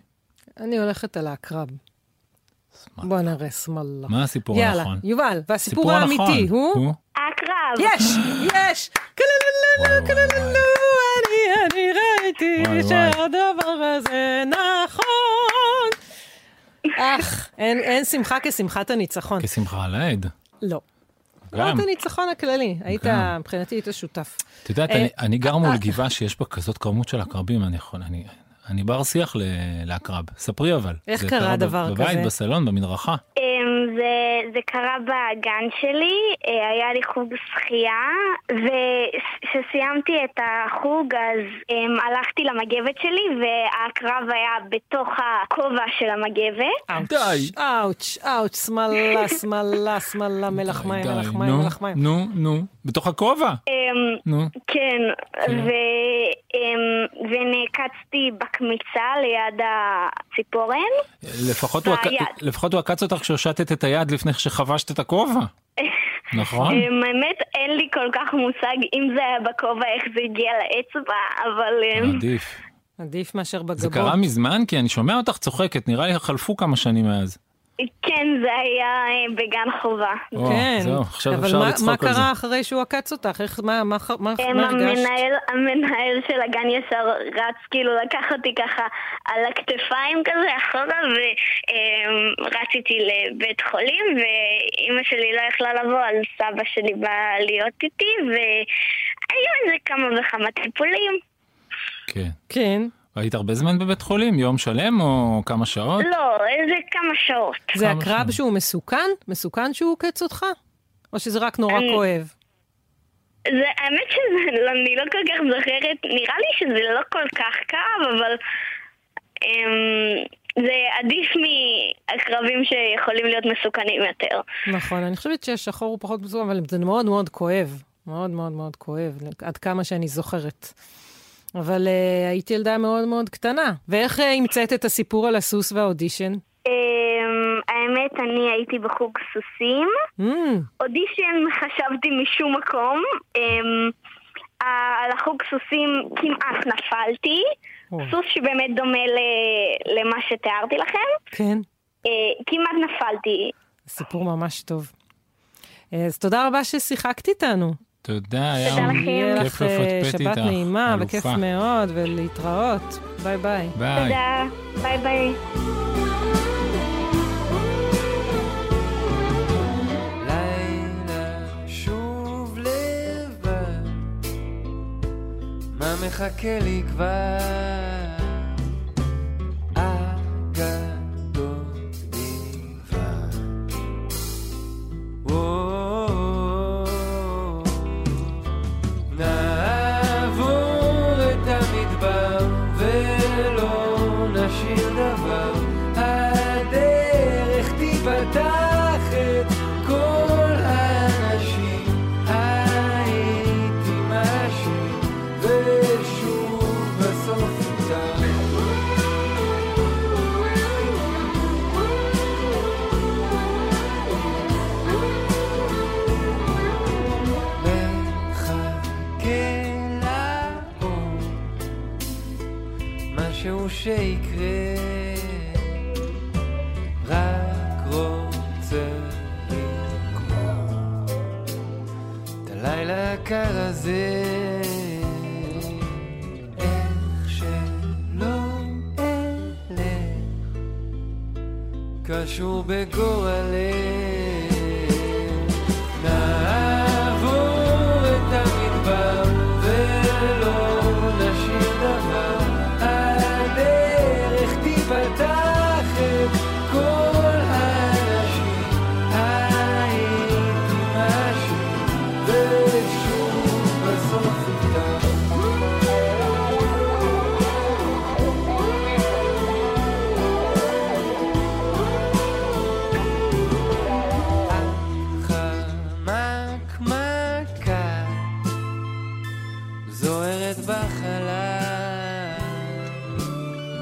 Speaker 5: אני הולכת על העקרב.
Speaker 4: שמאללה.
Speaker 5: בוא נראה, שמאללה.
Speaker 4: מה הסיפור
Speaker 5: יאללה,
Speaker 4: הנכון?
Speaker 5: יובל, והסיפור
Speaker 4: הסיפור
Speaker 5: האמיתי
Speaker 4: הנכון
Speaker 5: הוא?
Speaker 8: הקרב.
Speaker 5: יש! יש!
Speaker 4: וואי,
Speaker 5: כלללנו,
Speaker 4: וואי,
Speaker 5: כלללנו, אני, אני
Speaker 4: וואי,
Speaker 5: ראיתי
Speaker 4: וואי.
Speaker 5: שהדבר הזה נכון. אך, אין, אין שמחה כשמחת הניצחון.
Speaker 4: כשמחה על העד.
Speaker 5: לא. לא
Speaker 4: גם.
Speaker 5: את הניצחון הכללי, היית,
Speaker 4: גם.
Speaker 5: מבחינתי היית שותף.
Speaker 4: את יודעת,
Speaker 5: אה,
Speaker 4: אני- אני גר מול גבעה שיש בה כזאת כמות של עקרבים, אני יכול, אני... אני בר שיח ל- לעקרב, ספרי אבל.
Speaker 5: איך
Speaker 4: זה
Speaker 5: קרה
Speaker 4: ב-
Speaker 5: דבר
Speaker 4: בבית,
Speaker 5: כזה? אה,
Speaker 4: בסלון, במדרכה.
Speaker 8: אמ, זה, זה קרה בגן שלי, אה, היה לי חוג שחייה, וכשסיימתי את החוג אז אמ, הלכתי למגבת שלי, והקרב היה בתוך הכובע של המגבת.
Speaker 5: אאוץ',
Speaker 4: די.
Speaker 5: אאוץ', אאוץ', שמאלה, שמאלה, שמאלה, מלח מים,
Speaker 4: די,
Speaker 5: מלח
Speaker 4: די,
Speaker 5: מים,
Speaker 4: נו,
Speaker 5: מלח מים.
Speaker 4: נו, נו, בתוך הכובע.
Speaker 8: אמ,
Speaker 4: נו,
Speaker 8: כן, ו, אמ, ונעקצתי בקמיצה ליד הציפורן.
Speaker 4: לפחות הוא עק-
Speaker 8: ביד.
Speaker 4: לפחות הוא עקץ אותך כשהושטת את היד לפני שחבשת את הכובע. נכון?
Speaker 8: אמ, האמת, אין לי כל כך מושג אם זה היה בכובע, איך זה הגיע לאצבע, אבל... אמ,
Speaker 4: אה, עדיף.
Speaker 5: עדיף מאשר בגבות.
Speaker 4: זה קרה מזמן? כי אני שומע אותך צוחקת, נראה לי חלפו כמה שנים מאז.
Speaker 8: כן, זה היה אה, בגן חובה.
Speaker 4: או,
Speaker 5: כן,
Speaker 4: זהו, עכשיו
Speaker 5: אבל
Speaker 4: אפשר
Speaker 5: מה- מה
Speaker 4: לצחוק על זה.
Speaker 5: קרה אחרי שהוא עקץ אותך? איך, מה, מה, ח- מה,
Speaker 8: הם,
Speaker 5: מה לא הרגשת?
Speaker 8: אמ, המנהל, המנהל של הגן ישר רץ, כאילו לקח אותי ככה על הכתפיים כזה אחורה ורץ איתי לבית חולים ואימא שלי לא יכלה לבוא אז סבא שלי בא להיות איתי והיו איזה כמה וכמה טיפולים.
Speaker 4: כן.
Speaker 5: כן,
Speaker 4: היית הרבה זמן בבית חולים? יום שלם או כמה שעות?
Speaker 8: לא, איזה כמה שעות.
Speaker 5: זה
Speaker 4: כמה
Speaker 5: הקרב
Speaker 4: שנים.
Speaker 5: שהוא מסוכן? מסוכן שהוא עוקץ אותך? או שזה רק נורא
Speaker 8: אני-
Speaker 5: כואב?
Speaker 8: זה, האמת שאני לא כל כך זוכרת, נראה לי שזה לא כל כך כאב, אבל אמ, זה עדיף מהקרבים שיכולים להיות מסוכנים יותר.
Speaker 5: נכון, אני חושבת שהשחור הוא פחות מסוכן, אבל זה מאוד מאוד כואב. מאוד מאוד מאוד כואב, עד כמה שאני זוכרת. אבל uh, הייתי ילדה מאוד מאוד קטנה. ואיך אה, המצאת את הסיפור על הסוס והאודישן?
Speaker 8: אמ, האמת, אני הייתי בחוג סוסים.
Speaker 5: Mm,
Speaker 8: אודישן חשבתי משום מקום. אמ, ה- על החוג סוסים כמעט נפלתי.
Speaker 5: או,
Speaker 8: סוס שבאמת דומה ל- למה שתיארתי לכם.
Speaker 5: כן,
Speaker 8: אה, כמעט נפלתי.
Speaker 5: סיפור ממש טוב. אה, אז תודה רבה ששיחקת איתנו.
Speaker 4: תודה, היה
Speaker 8: תודה לכם.
Speaker 5: אה, יהיה
Speaker 4: כיף
Speaker 5: לך
Speaker 4: לפטפט
Speaker 5: אה, שבת
Speaker 4: איתך,
Speaker 5: נעימה
Speaker 4: אלופה.
Speaker 5: וכיף מאוד, ולהתראות. ביי ביי.
Speaker 4: ביי.
Speaker 8: תודה. ביי ביי.
Speaker 11: לילה שוב לבד, מה מחכה לי כבר? אגדות בלבד. וואו, נעבור את המדבר ולא נשאיר דבר, הדרך תיפתח את כל האנשים, הייתי משהו ושוב בסוף
Speaker 12: שיקרה, רק רוצה לגמור את הלילה הקר הזה. איך שלא אלך, קשור בגורלך. נעבור את המדבר ולא נשאיר דבר. הדרך תיפתח את כל האנשים. הייתי משהו ושוב בסוף איתך. חמקמקה זוהרת בחלל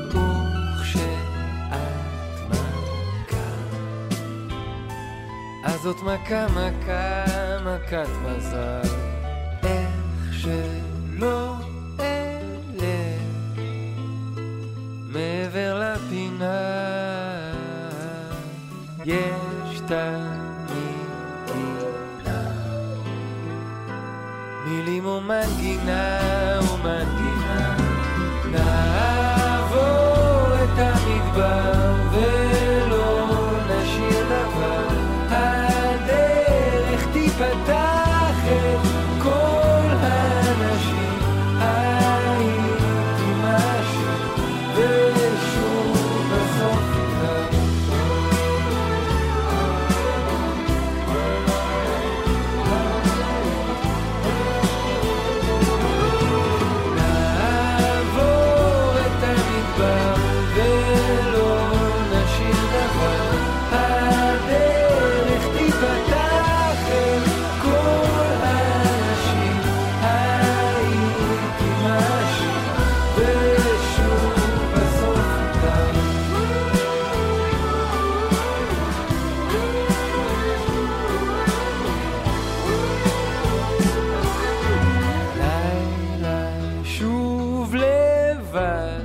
Speaker 12: וכשאת מכה אז זאת מכה מכה מכת מזל איך שלא אלך מעבר לפינה יש תמיד פינה מילים ומנגינה ומנגינה נעבור את המדבר ולא נשאיר דבר הדרך תיפתח את כל האנשים הייתי משהו ושוב בסוף נקרא נעבור את המדבר ולא נשאיר דבר. הדרך תיפתח אל כל האנשים. הייתי משהו ושוב בסוף איתך. לילה שוב לבד,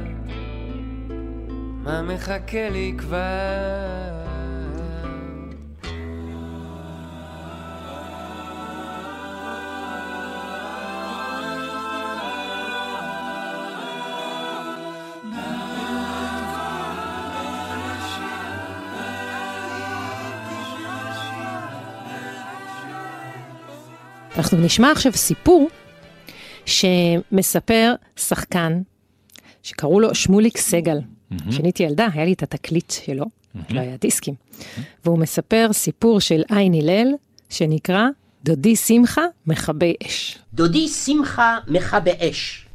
Speaker 12: מה מחכה לי כבר?
Speaker 5: אנחנו נשמע עכשיו סיפור שמספר שחקן שקראו לו שמוליק סגל. כשהייתי ילדה, היה לי את התקליט שלו, לא היה דיסקים. והוא מספר סיפור של עין הלל, שנקרא דודי שמחה מכבי אש.
Speaker 13: דודי שמחה מכבה אש.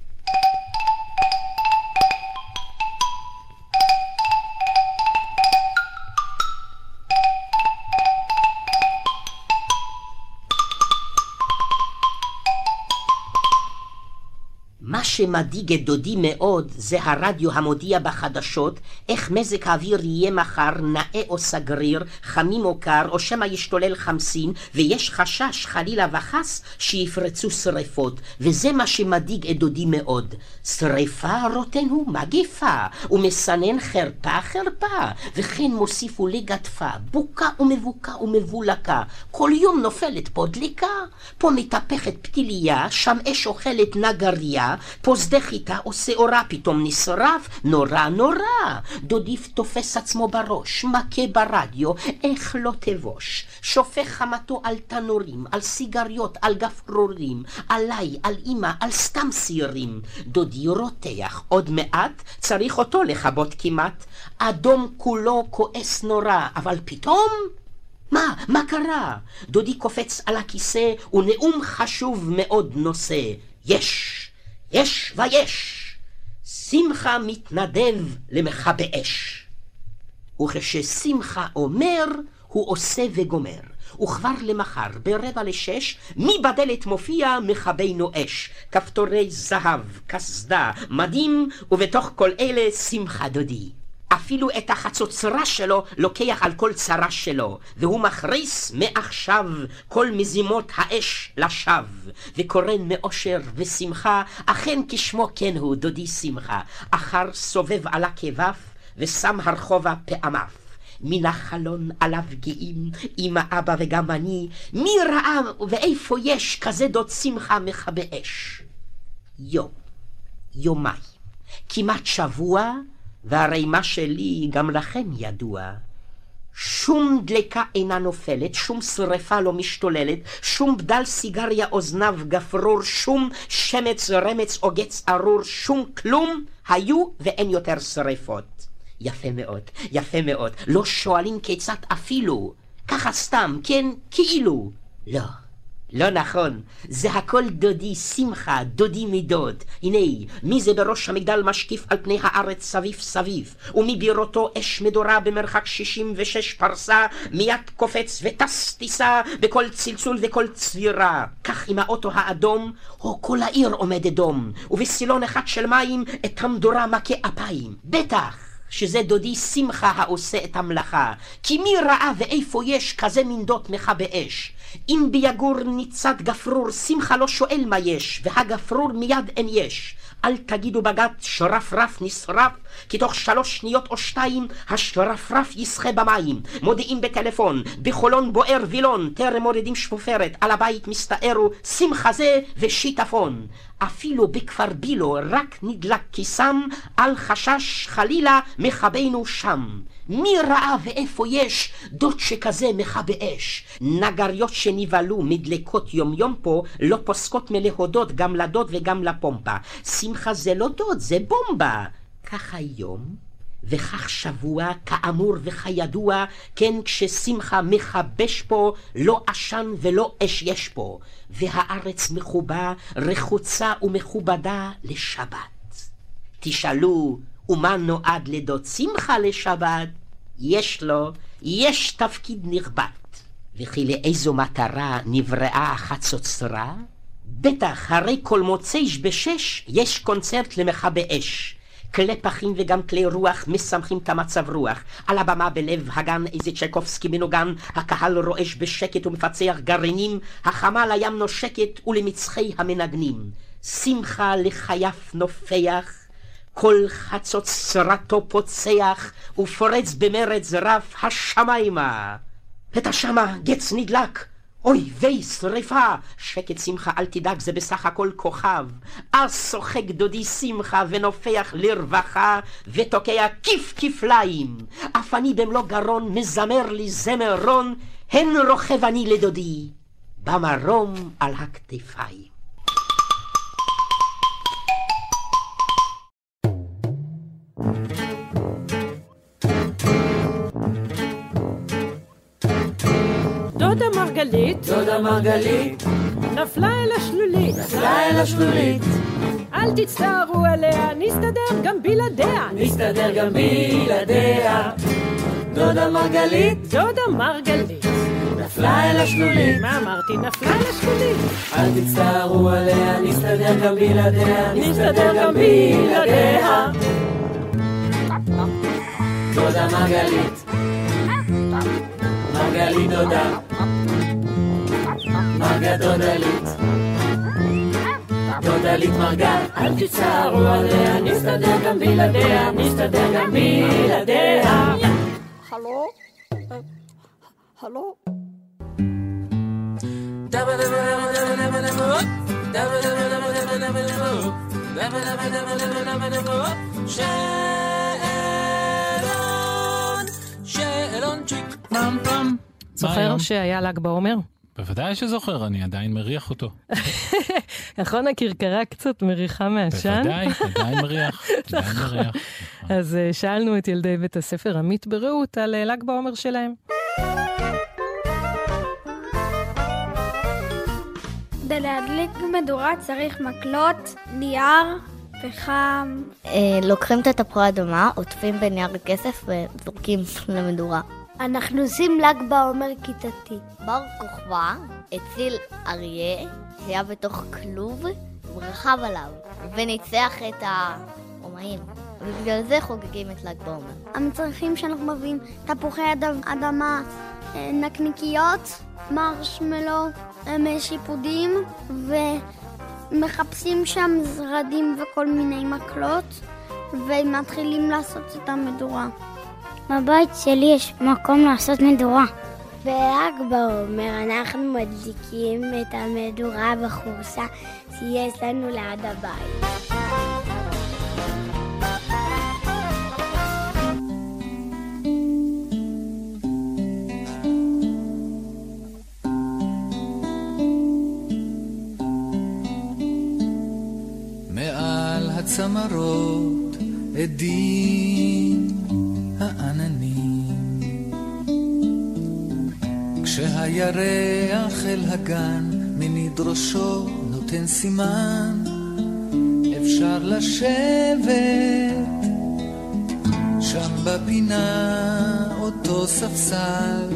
Speaker 13: מה שמדאיג את דודי מאוד זה הרדיו המודיע בחדשות איך מזג האוויר יהיה מחר נאה או סגריר, חמים או קר, או שמא ישתולל חמסין, ויש חשש חלילה וחס שיפרצו שרפות, וזה מה שמדאיג את דודי מאוד. שרפה רוטן הוא מגפה, ומסנן חרפה חרפה, וכן מוסיפו לגדפה, בוקה ומבוקה ומבולקה. כל יום נופלת פה דליקה, פה מתהפכת פתיליה, שם אש אוכלת נגריה, פה שדה חיטה או שעורה פתאום נשרף, נורא נורא. דודי תופס עצמו בראש, מכה ברדיו, איך לא תבוש. שופך חמתו על תנורים, על סיגריות, על גפרורים, עליי, על אמא, על סתם שעירים. דודי רותח, עוד מעט צריך אותו לכבות כמעט. אדום כולו כועס נורא, אבל פתאום... מה? מה קרה? דודי קופץ על הכיסא, ונאום חשוב מאוד נושא. יש! יש ויש! שמחה מתנדב למכבי אש. וכששמחה אומר, הוא עושה וגומר. וכבר למחר, ברבע לשש, מי בדלת מופיע מכבינו אש. כפתורי זהב, קסדה, מדים, ובתוך כל אלה שמחה דודי. אפילו את החצוצרה שלו לוקח על כל צרה שלו, והוא מכריס מעכשיו כל מזימות האש לשווא, וקורן מאושר ושמחה, אכן כשמו כן הוא, דודי שמחה, אחר סובב על הכבף, ושם הרחובה פעמיו. מן החלון עליו גאים, עם האבא וגם אני, מי ראה ואיפה יש כזה דוד שמחה מכבה אש? יום, יומיים, כמעט שבוע, והרי מה שלי גם לכם ידוע. שום דלקה אינה נופלת, שום שרפה לא משתוללת, שום בדל סיגריה אוזניו גפרור, שום שמץ רמץ עוגץ ארור, שום כלום, היו ואין יותר שרפות. יפה מאוד, יפה מאוד. לא שואלים כיצד אפילו. ככה סתם, כן, כאילו. לא, לא נכון. זה הכל דודי שמחה, דודי מדוד. הנה, מי זה בראש המגדל משקיף על פני הארץ סביב סביב, ומבירותו אש מדורה במרחק שישים ושש פרסה, מיד קופץ וטס טיסה, וכל צלצול וכל צבירה. כך עם האוטו האדום, או כל העיר עומד אדום, ובסילון אחד של מים את המדורה מכה אפיים. בטח! שזה דודי שמחה העושה את המלאכה. כי מי ראה ואיפה יש כזה מין דות מכבה אש? אם ביגור ניצת גפרור, שמחה לא שואל מה יש, והגפרור מיד אין יש. אל תגידו בגת שרפרף נשרף, כי תוך שלוש שניות או שתיים השרפרף ישחה במים. מודיעים בטלפון, בחולון בוער וילון, טרם מורידים שפופרת, על הבית מסתערו, שמחה זה ושיטפון. אפילו בכפר בילו רק נדלק כיסם, אל חשש חלילה מכבנו שם. מי ראה ואיפה יש דוד שכזה מכבה אש? נגריות שנבהלו מדלקות יומיום פה, לא פוסקות מלהודות גם לדוד וגם לפומפה. שמחה זה לא דוד, זה בומבה. כך היום, וכך שבוע, כאמור וכידוע, כן כששמחה מכבש פה, לא עשן ולא אש יש פה, והארץ מחובה, רחוצה ומכובדה לשבת. תשאלו, ומה נועד לדוד שמחה לשבת? יש לו, יש תפקיד נכבד. וכי לאיזו מטרה נבראה החצוצרה? בטח, הרי כל מוצאי בשש יש קונצרט למכבי אש. כלי פחים וגם כלי רוח משמחים את המצב רוח. על הבמה בלב הגן איזה צ'קובסקי מנוגן, הקהל רועש בשקט ומפצח גרעינים, החמה לים נושקת ולמצחי המנגנים. שמחה לחייף נופח, כל חצוצרתו פוצח, ופורץ במרץ רב השמיימה. ותשמה גץ נדלק, אוי ויי, שרפה! שקט שמחה, אל תדאג, זה בסך הכל כוכב. אז שוחק דודי שמחה ונופח לרווחה, ותוקע כיף כפליים. אף אני במלוא גרון מזמר לי זמרון, הן רוכב אני לדודי, במרום על הכתפיים.
Speaker 5: דודה מרגלית,
Speaker 11: דודה מרגלית,
Speaker 5: נפלה אל השלולית,
Speaker 11: נפלה אל השלולית,
Speaker 5: אל תצטערו עליה, נסתדר גם בלעדיה.
Speaker 11: נסתדר גם בלעדיה. דודה מרגלית,
Speaker 5: דודה מרגלית,
Speaker 11: נפלה אל השלולית,
Speaker 5: מה אמרתי? נפלה אל השלולית.
Speaker 11: אל תצטערו עליה, נסתדר גם בלעדיה,
Speaker 5: נסתדר גם בלעדיה.
Speaker 11: דודה מרגלית, מרגלית דודה, מרגה דודלית, דודלית מרגה, אל תצערו עליה, נסתדר גם בלעדיה, נסתדר גם בלעדיה.
Speaker 14: הלו? אה, הלו?
Speaker 11: שאלון, שאלונצ'יק.
Speaker 4: פעם פעם. מה
Speaker 5: זוכר
Speaker 4: היום?
Speaker 5: שהיה ל"ג בעומר?
Speaker 4: בוודאי שזוכר, אני עדיין מריח אותו.
Speaker 5: נכון, הכרכרה קצת מריחה מהעשן?
Speaker 4: בוודאי, כן. עדיין מריח, עדיין מריח.
Speaker 5: אז אה, שאלנו את ילדי בית הספר עמית ברעות על אה, ל"ג בעומר שלהם.
Speaker 9: כדי להדליק מדורה צריך מקלות, נייר וחם.
Speaker 15: אה, לוקחים את התפוחי אדמה, עוטפים בנייר כסף וזורקים למדורה.
Speaker 9: אנחנו עושים ל"ג בעומר כיתתי.
Speaker 15: בר כוכבא הציל אריה שהיה בתוך כלוב, הוא רכב עליו, וניצח את הרומאים. ובגלל זה חוגגים את ל"ג בעומר.
Speaker 9: המצרכים שאנחנו מביאים, תפוחי אד- אדמה, אה, נקניקיות, מרשמלו, אה, שיפודים, ומחפשים שם זרדים וכל מיני מקלות, ומתחילים לעשות את המדורה.
Speaker 16: בבית שלי יש מקום לעשות מדורה. בל"ג בעומר אנחנו
Speaker 9: אה,
Speaker 16: מדליקים את המדורה בחורשה שיש לנו ליד הבית.
Speaker 11: מעל הצמרות עדים העננים. כשהירח אל הגן מניד ראשו נותן סימן, אפשר לשבת שם בפינה אותו ספסל.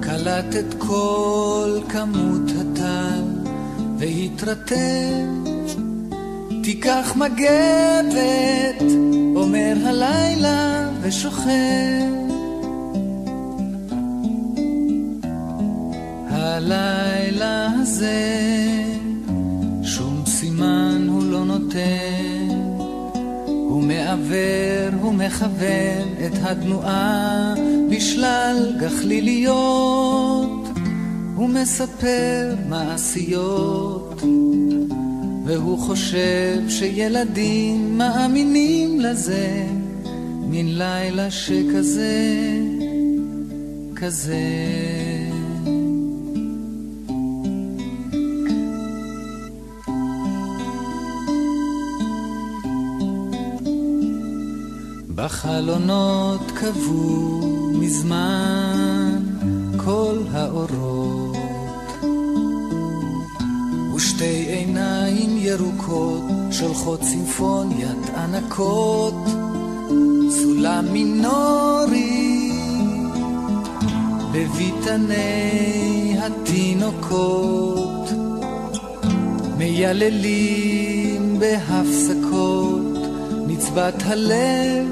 Speaker 11: קלט את כל כמות הטל והתרתם תיקח מגבת, אומר הלילה ושוכב. הלילה הזה, שום סימן הוא לא נותן. הוא מעוור, הוא מכוון את התנועה בשלל גחליליות. הוא מספר מעשיות. והוא חושב שילדים מאמינים לזה, מן לילה שכזה, כזה. בחלונות קבעו מזמן כל האורות. ושתי עיניים ירוקות שולחות סימפוניית ענקות, סולם מינורי בביתני התינוקות, מייללים בהפסקות נצבת הלב,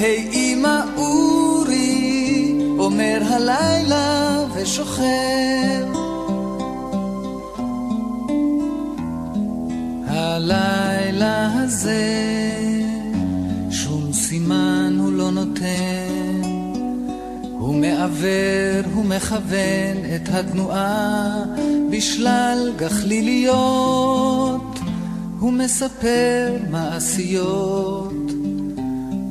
Speaker 11: היי אמא אורי, אומר הלילה ושוכב. הלילה הזה שום סימן הוא לא נותן. הוא מעוור, הוא מכוון את התנועה בשלל גחליליות. הוא מספר מעשיות,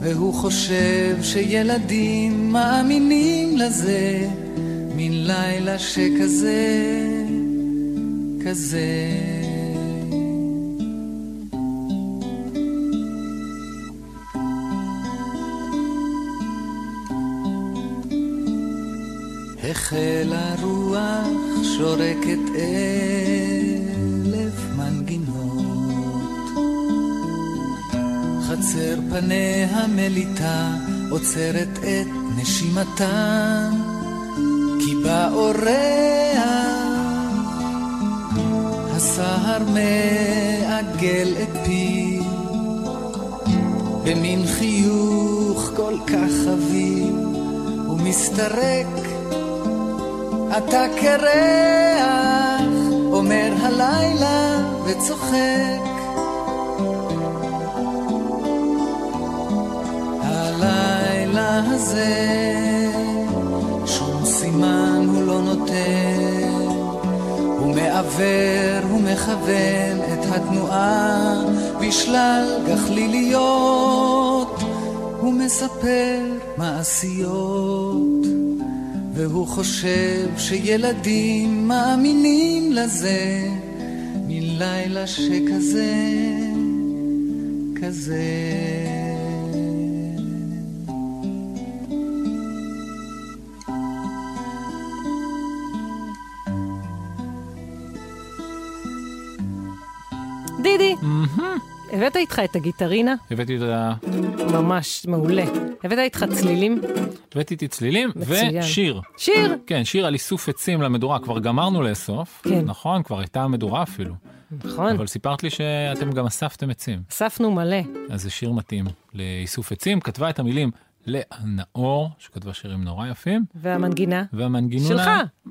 Speaker 11: והוא חושב שילדים מאמינים לזה, מן לילה שכזה, כזה. החלה רוח שורקת אלף מנגינות. חצר פניה מליטה עוצרת את נשימתה, כי בא אורח, הסהר מעגל את פיו, במין חיוך כל כך חביב, הוא מסתרק אתה קרח, אומר הלילה וצוחק. הלילה הזה, שום סימן הוא לא נותן. הוא מעוור, הוא מכוון את התנועה בשלל גחליליות. הוא מספר מעשיות. והוא חושב שילדים מאמינים לזה, מלילה שכזה, כזה.
Speaker 5: דידי, הבאת איתך את הגיטרינה?
Speaker 4: הבאתי את ה...
Speaker 5: ממש מעולה. הבאת איתך צלילים?
Speaker 4: הבאתי איתי צלילים
Speaker 5: מצוין.
Speaker 4: ושיר.
Speaker 5: שיר?
Speaker 4: כן, שיר על איסוף עצים למדורה, כבר גמרנו לאסוף,
Speaker 5: כן.
Speaker 4: נכון? כבר הייתה המדורה אפילו.
Speaker 5: נכון.
Speaker 4: אבל סיפרת לי שאתם גם אספתם עצים.
Speaker 5: אספנו מלא.
Speaker 4: אז זה שיר מתאים לאיסוף עצים, כתבה את המילים לאה נאור, שכתבה שירים נורא יפים.
Speaker 5: והמנגינה?
Speaker 4: והמנגינה...
Speaker 5: שלך.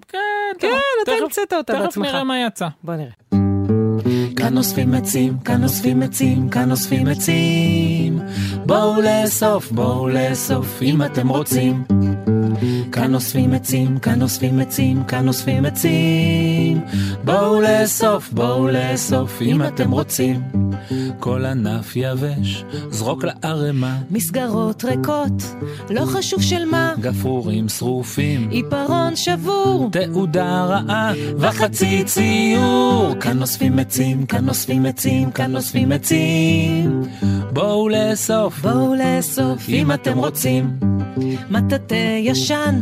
Speaker 4: כן,
Speaker 5: כן, אתה
Speaker 4: תכף-
Speaker 5: המצאת אותה
Speaker 4: תכף
Speaker 5: בעצמך.
Speaker 4: נראה מה יצא.
Speaker 5: בוא נראה.
Speaker 2: כאן אוספים עצים, כאן אוספים עצים, כאן אוספים עצים. בואו לאסוף, בואו לאסוף, אם אתם רוצים. כאן אוספים עצים, כאן אוספים עצים, כאן אוספים עצים. בואו לאסוף, בואו לאסוף, אם אתם רוצים.
Speaker 4: כל ענף יבש, זרוק לערימה,
Speaker 2: מסגרות ריקות, לא חשוב של מה.
Speaker 4: גפרורים שרופים,
Speaker 2: עיפרון שבור, תעודה רעה וחצי ציור. כאן אוספים עצים, כאן אוספים עצים, כאן אוספים עצים. בואו לאסוף, בואו לאסוף, אם אתם רוצים. מטאטא ישן,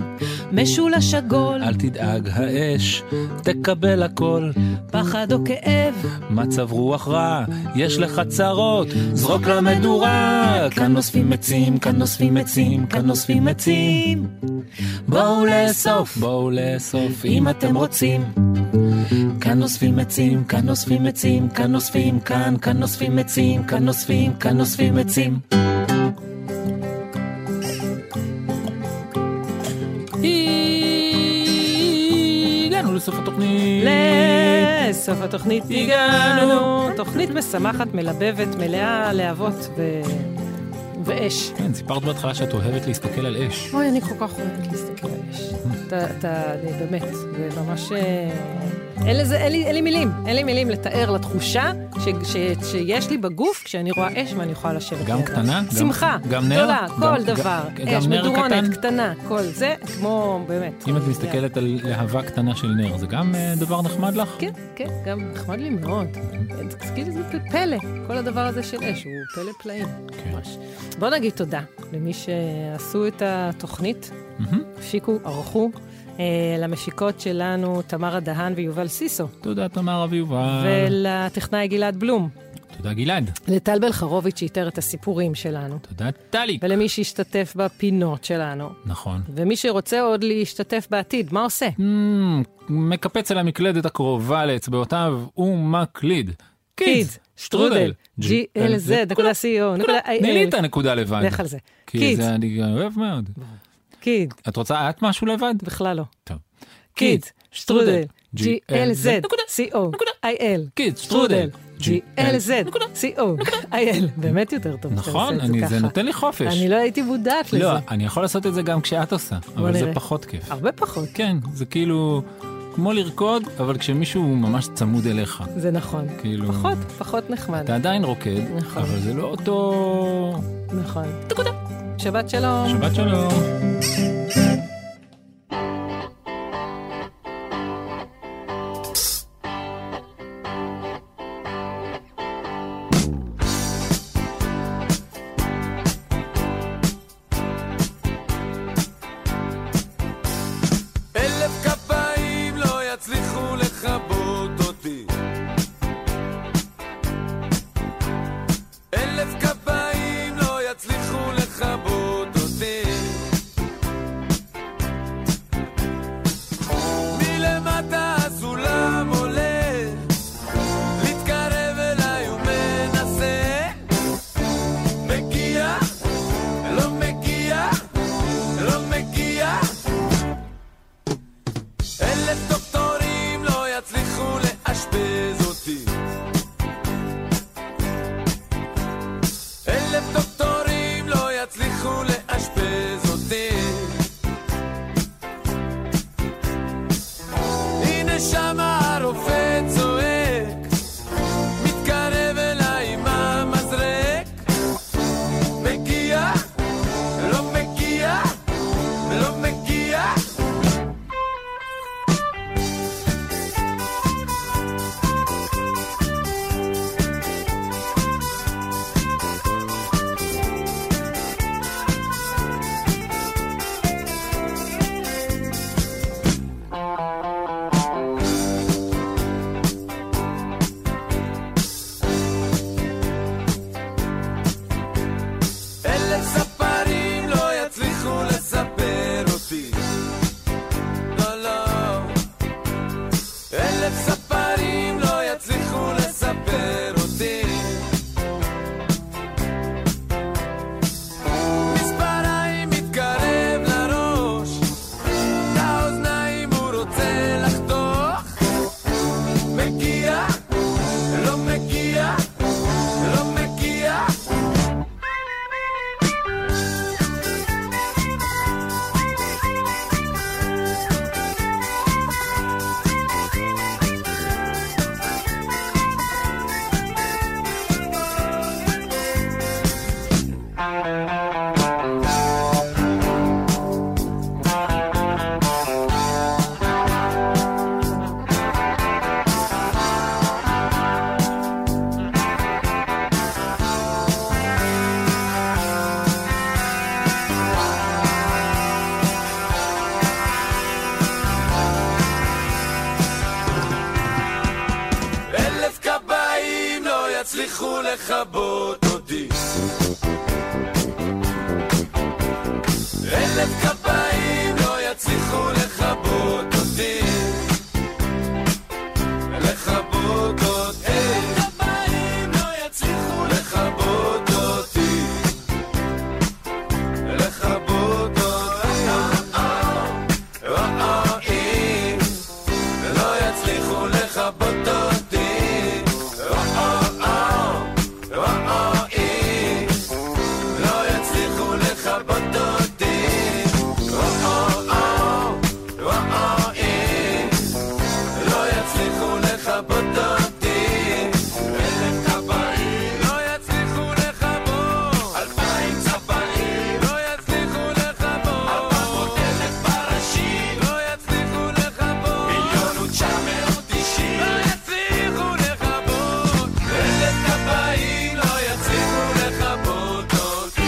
Speaker 2: משולש עגול.
Speaker 4: אל תדאג האש, תקבל הכל.
Speaker 2: פחד או כאב,
Speaker 4: מצב רוח רע, יש לך צרות, זרוק למדורה. כאן אוספים עצים, כאן אוספים עצים, כאן אוספים עצים.
Speaker 2: בואו לאסוף,
Speaker 4: בואו לאסוף,
Speaker 2: אם אתם רוצים. כאן אוספים עצים, כאן אוספים עצים, כאן אוספים כאן, כאן אוספים עצים, כאן אוספים, כאן אוספים עצים.
Speaker 4: הגענו לסוף התוכנית.
Speaker 5: לסוף התוכנית
Speaker 4: הגענו.
Speaker 5: הגענו. תוכנית משמחת, מלבבת, מלאה להבות ו... ואש.
Speaker 4: כן, סיפרת בהתחלה שאת אוהבת להסתכל על אש.
Speaker 5: אוי, אני כל כך אוהבת להסתכל על אש. אתה, אתה, אני באמת, זה ממש... אה, אין לזה, אין לי, אין לי מילים, אין לי מילים לתאר לתחושה ש, ש, שיש לי בגוף כשאני רואה אש ואני יכולה לשבת.
Speaker 4: גם
Speaker 5: לידה.
Speaker 4: קטנה? גם-
Speaker 5: שמחה,
Speaker 4: גם נר?
Speaker 5: גדולה,
Speaker 4: גם-
Speaker 5: כל
Speaker 4: גם-
Speaker 5: דבר.
Speaker 4: גם
Speaker 5: אש,
Speaker 4: נר
Speaker 5: מדורונת,
Speaker 4: קטן?
Speaker 5: קטנה, כל זה, כמו, באמת.
Speaker 4: אם את מסתכלת על להבה קטנה של נר, זה גם אה, דבר נחמד לך?
Speaker 5: כן, כן, גם נחמד לי מאוד. זה כאילו זה פלא, כל הדבר הזה של אש, הוא פלא פלאים.
Speaker 4: כן.
Speaker 5: ממש. בוא נגיד תודה למי שעשו את התוכנית, הפיקו, ערכו, אה, למפיקות שלנו, תמרה דהן ויובל סיסו,
Speaker 4: תודה, תמרה ויובל.
Speaker 5: ולטכנאי גלעד בלום,
Speaker 4: תודה, גלעד.
Speaker 5: לטל בלחרוביץ' שאיתר את הסיפורים שלנו.
Speaker 4: תודה, טלי.
Speaker 5: ולמי שהשתתף בפינות שלנו.
Speaker 4: נכון.
Speaker 5: ומי שרוצה עוד להשתתף בעתיד, מה עושה?
Speaker 4: מקפץ אל המקלדת הקרובה לאצבעותיו ומקליד.
Speaker 5: קידס, שטרודל, glz.co.il.
Speaker 4: תני לי את הנקודה לבד.
Speaker 5: אה, לך על זה.
Speaker 4: כי
Speaker 5: Kids.
Speaker 4: זה אני אוהב מאוד.
Speaker 5: קיד.
Speaker 4: את רוצה את משהו לבד?
Speaker 5: בכלל לא.
Speaker 4: טוב.
Speaker 5: קיד, שטרודל,
Speaker 4: glz.
Speaker 5: glz.co.il.
Speaker 4: קיד, שטרודל,
Speaker 5: glz.co.il. באמת יותר טוב. שאתה
Speaker 4: נכון,
Speaker 5: עושה את
Speaker 4: אני- זה
Speaker 5: ככה.
Speaker 4: נותן לי חופש.
Speaker 5: אני לא הייתי מודעת לזה.
Speaker 4: לא, אני יכול לעשות את זה גם כשאת עושה,
Speaker 5: בוא
Speaker 4: אבל זה
Speaker 5: נראה.
Speaker 4: פחות כיף.
Speaker 5: הרבה פחות.
Speaker 4: כן, זה כאילו כמו לרקוד, אבל כשמישהו הוא ממש צמוד אליך.
Speaker 5: זה נכון.
Speaker 4: כאילו...
Speaker 5: פחות, פחות נחמד.
Speaker 4: אתה עדיין רוקד,
Speaker 5: נכון.
Speaker 4: אבל זה לא אותו...
Speaker 5: נכון. שבת שלום.
Speaker 4: שבת שלום.
Speaker 3: אלף כפיים לא יצליחו לכבות אותי. אלף כפיים לא יצליחו לכבות אותי. לא לא לא לא יצליחו לכבות אותי. אלף כפיים לא יצליחו לכבות אותי. לכבות אותי. אלף כפיים לא יצליחו לכבות אותי. לכבות אותי. אה, אה, אה, אה. לא יצליחו לכבות אותי. אה, אה, אה. אה, אה, אה. לא יצליחו לכבות אותי. אה, אה, אה. אה, אה, אה. לא יצליחו לכבות אותי. אלף כבאים לא יצליחו לכבות. אלפיים צבאים לא יצליחו לכבות. ארבע מאות אלף פרשים לא יצליחו לכבות. מיליון ותשע מאות תשעים לא יצליחו לכבות. אלף כבאים לא יצליחו לכבות אותי.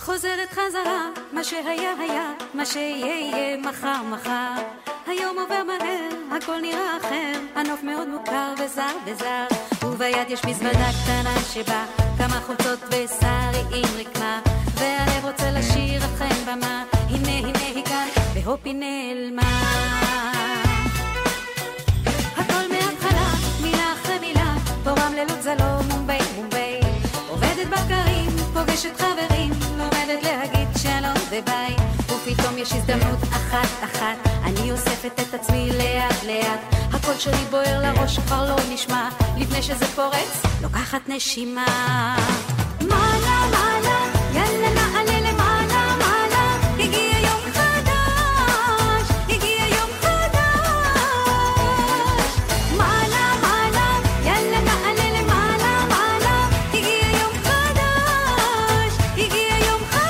Speaker 17: חוזרת חזרה, מה שהיה היה, מה שיהיה יהיה מחר מחר. היום עובר מהר, הכל נראה אחר, הנוף מאוד מוכר וזר וזר. וביד יש מזוודה קטנה שבה כמה חולצות ושרי עם רקמה, והלב רוצה לשיר אך אין במה, הנה הנה היא כאן, והופ היא נעלמה. הכל מההתחלה, מילה אחרי מילה, פה רמללות זה לא מומבי מומבי. עובדת בקרים, פוגשת חברים, לומדת להגיד שלום וביי. ופתאום יש הזדמנות אחת-אחת, אני אוספת את עצמי לאט-לאט. הקול שלי בוער לראש כבר לא נשמע, לפני שזה פורץ, לוקחת נשימה. מעלה, מעלה, יאללה נעלה למעלה, מעלה, הגיע יום חדש, הגיע יום חדש. מעלה, מעלה, יאללה נעלה למעלה, מעלה, הגיע יום חדש, הגיע יום חדש.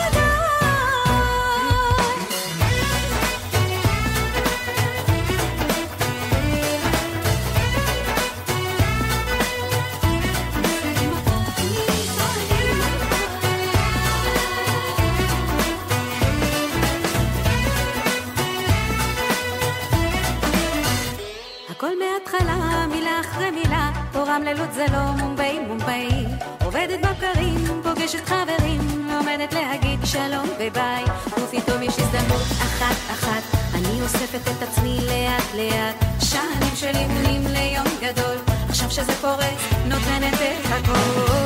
Speaker 17: הכל מההתחלה, מילה אחרי מילה, פה רמללות זה לא מומבי מומבי. עובדת בבקרים, פוגשת חברים, לומדת להגיד שלום וביי. ופתאום יש הזדמנות אחת-אחת, אני אוספת את עצמי לאט-לאט. שנים שלי בונים ליום גדול, עכשיו שזה קורה, נותנת את הכל.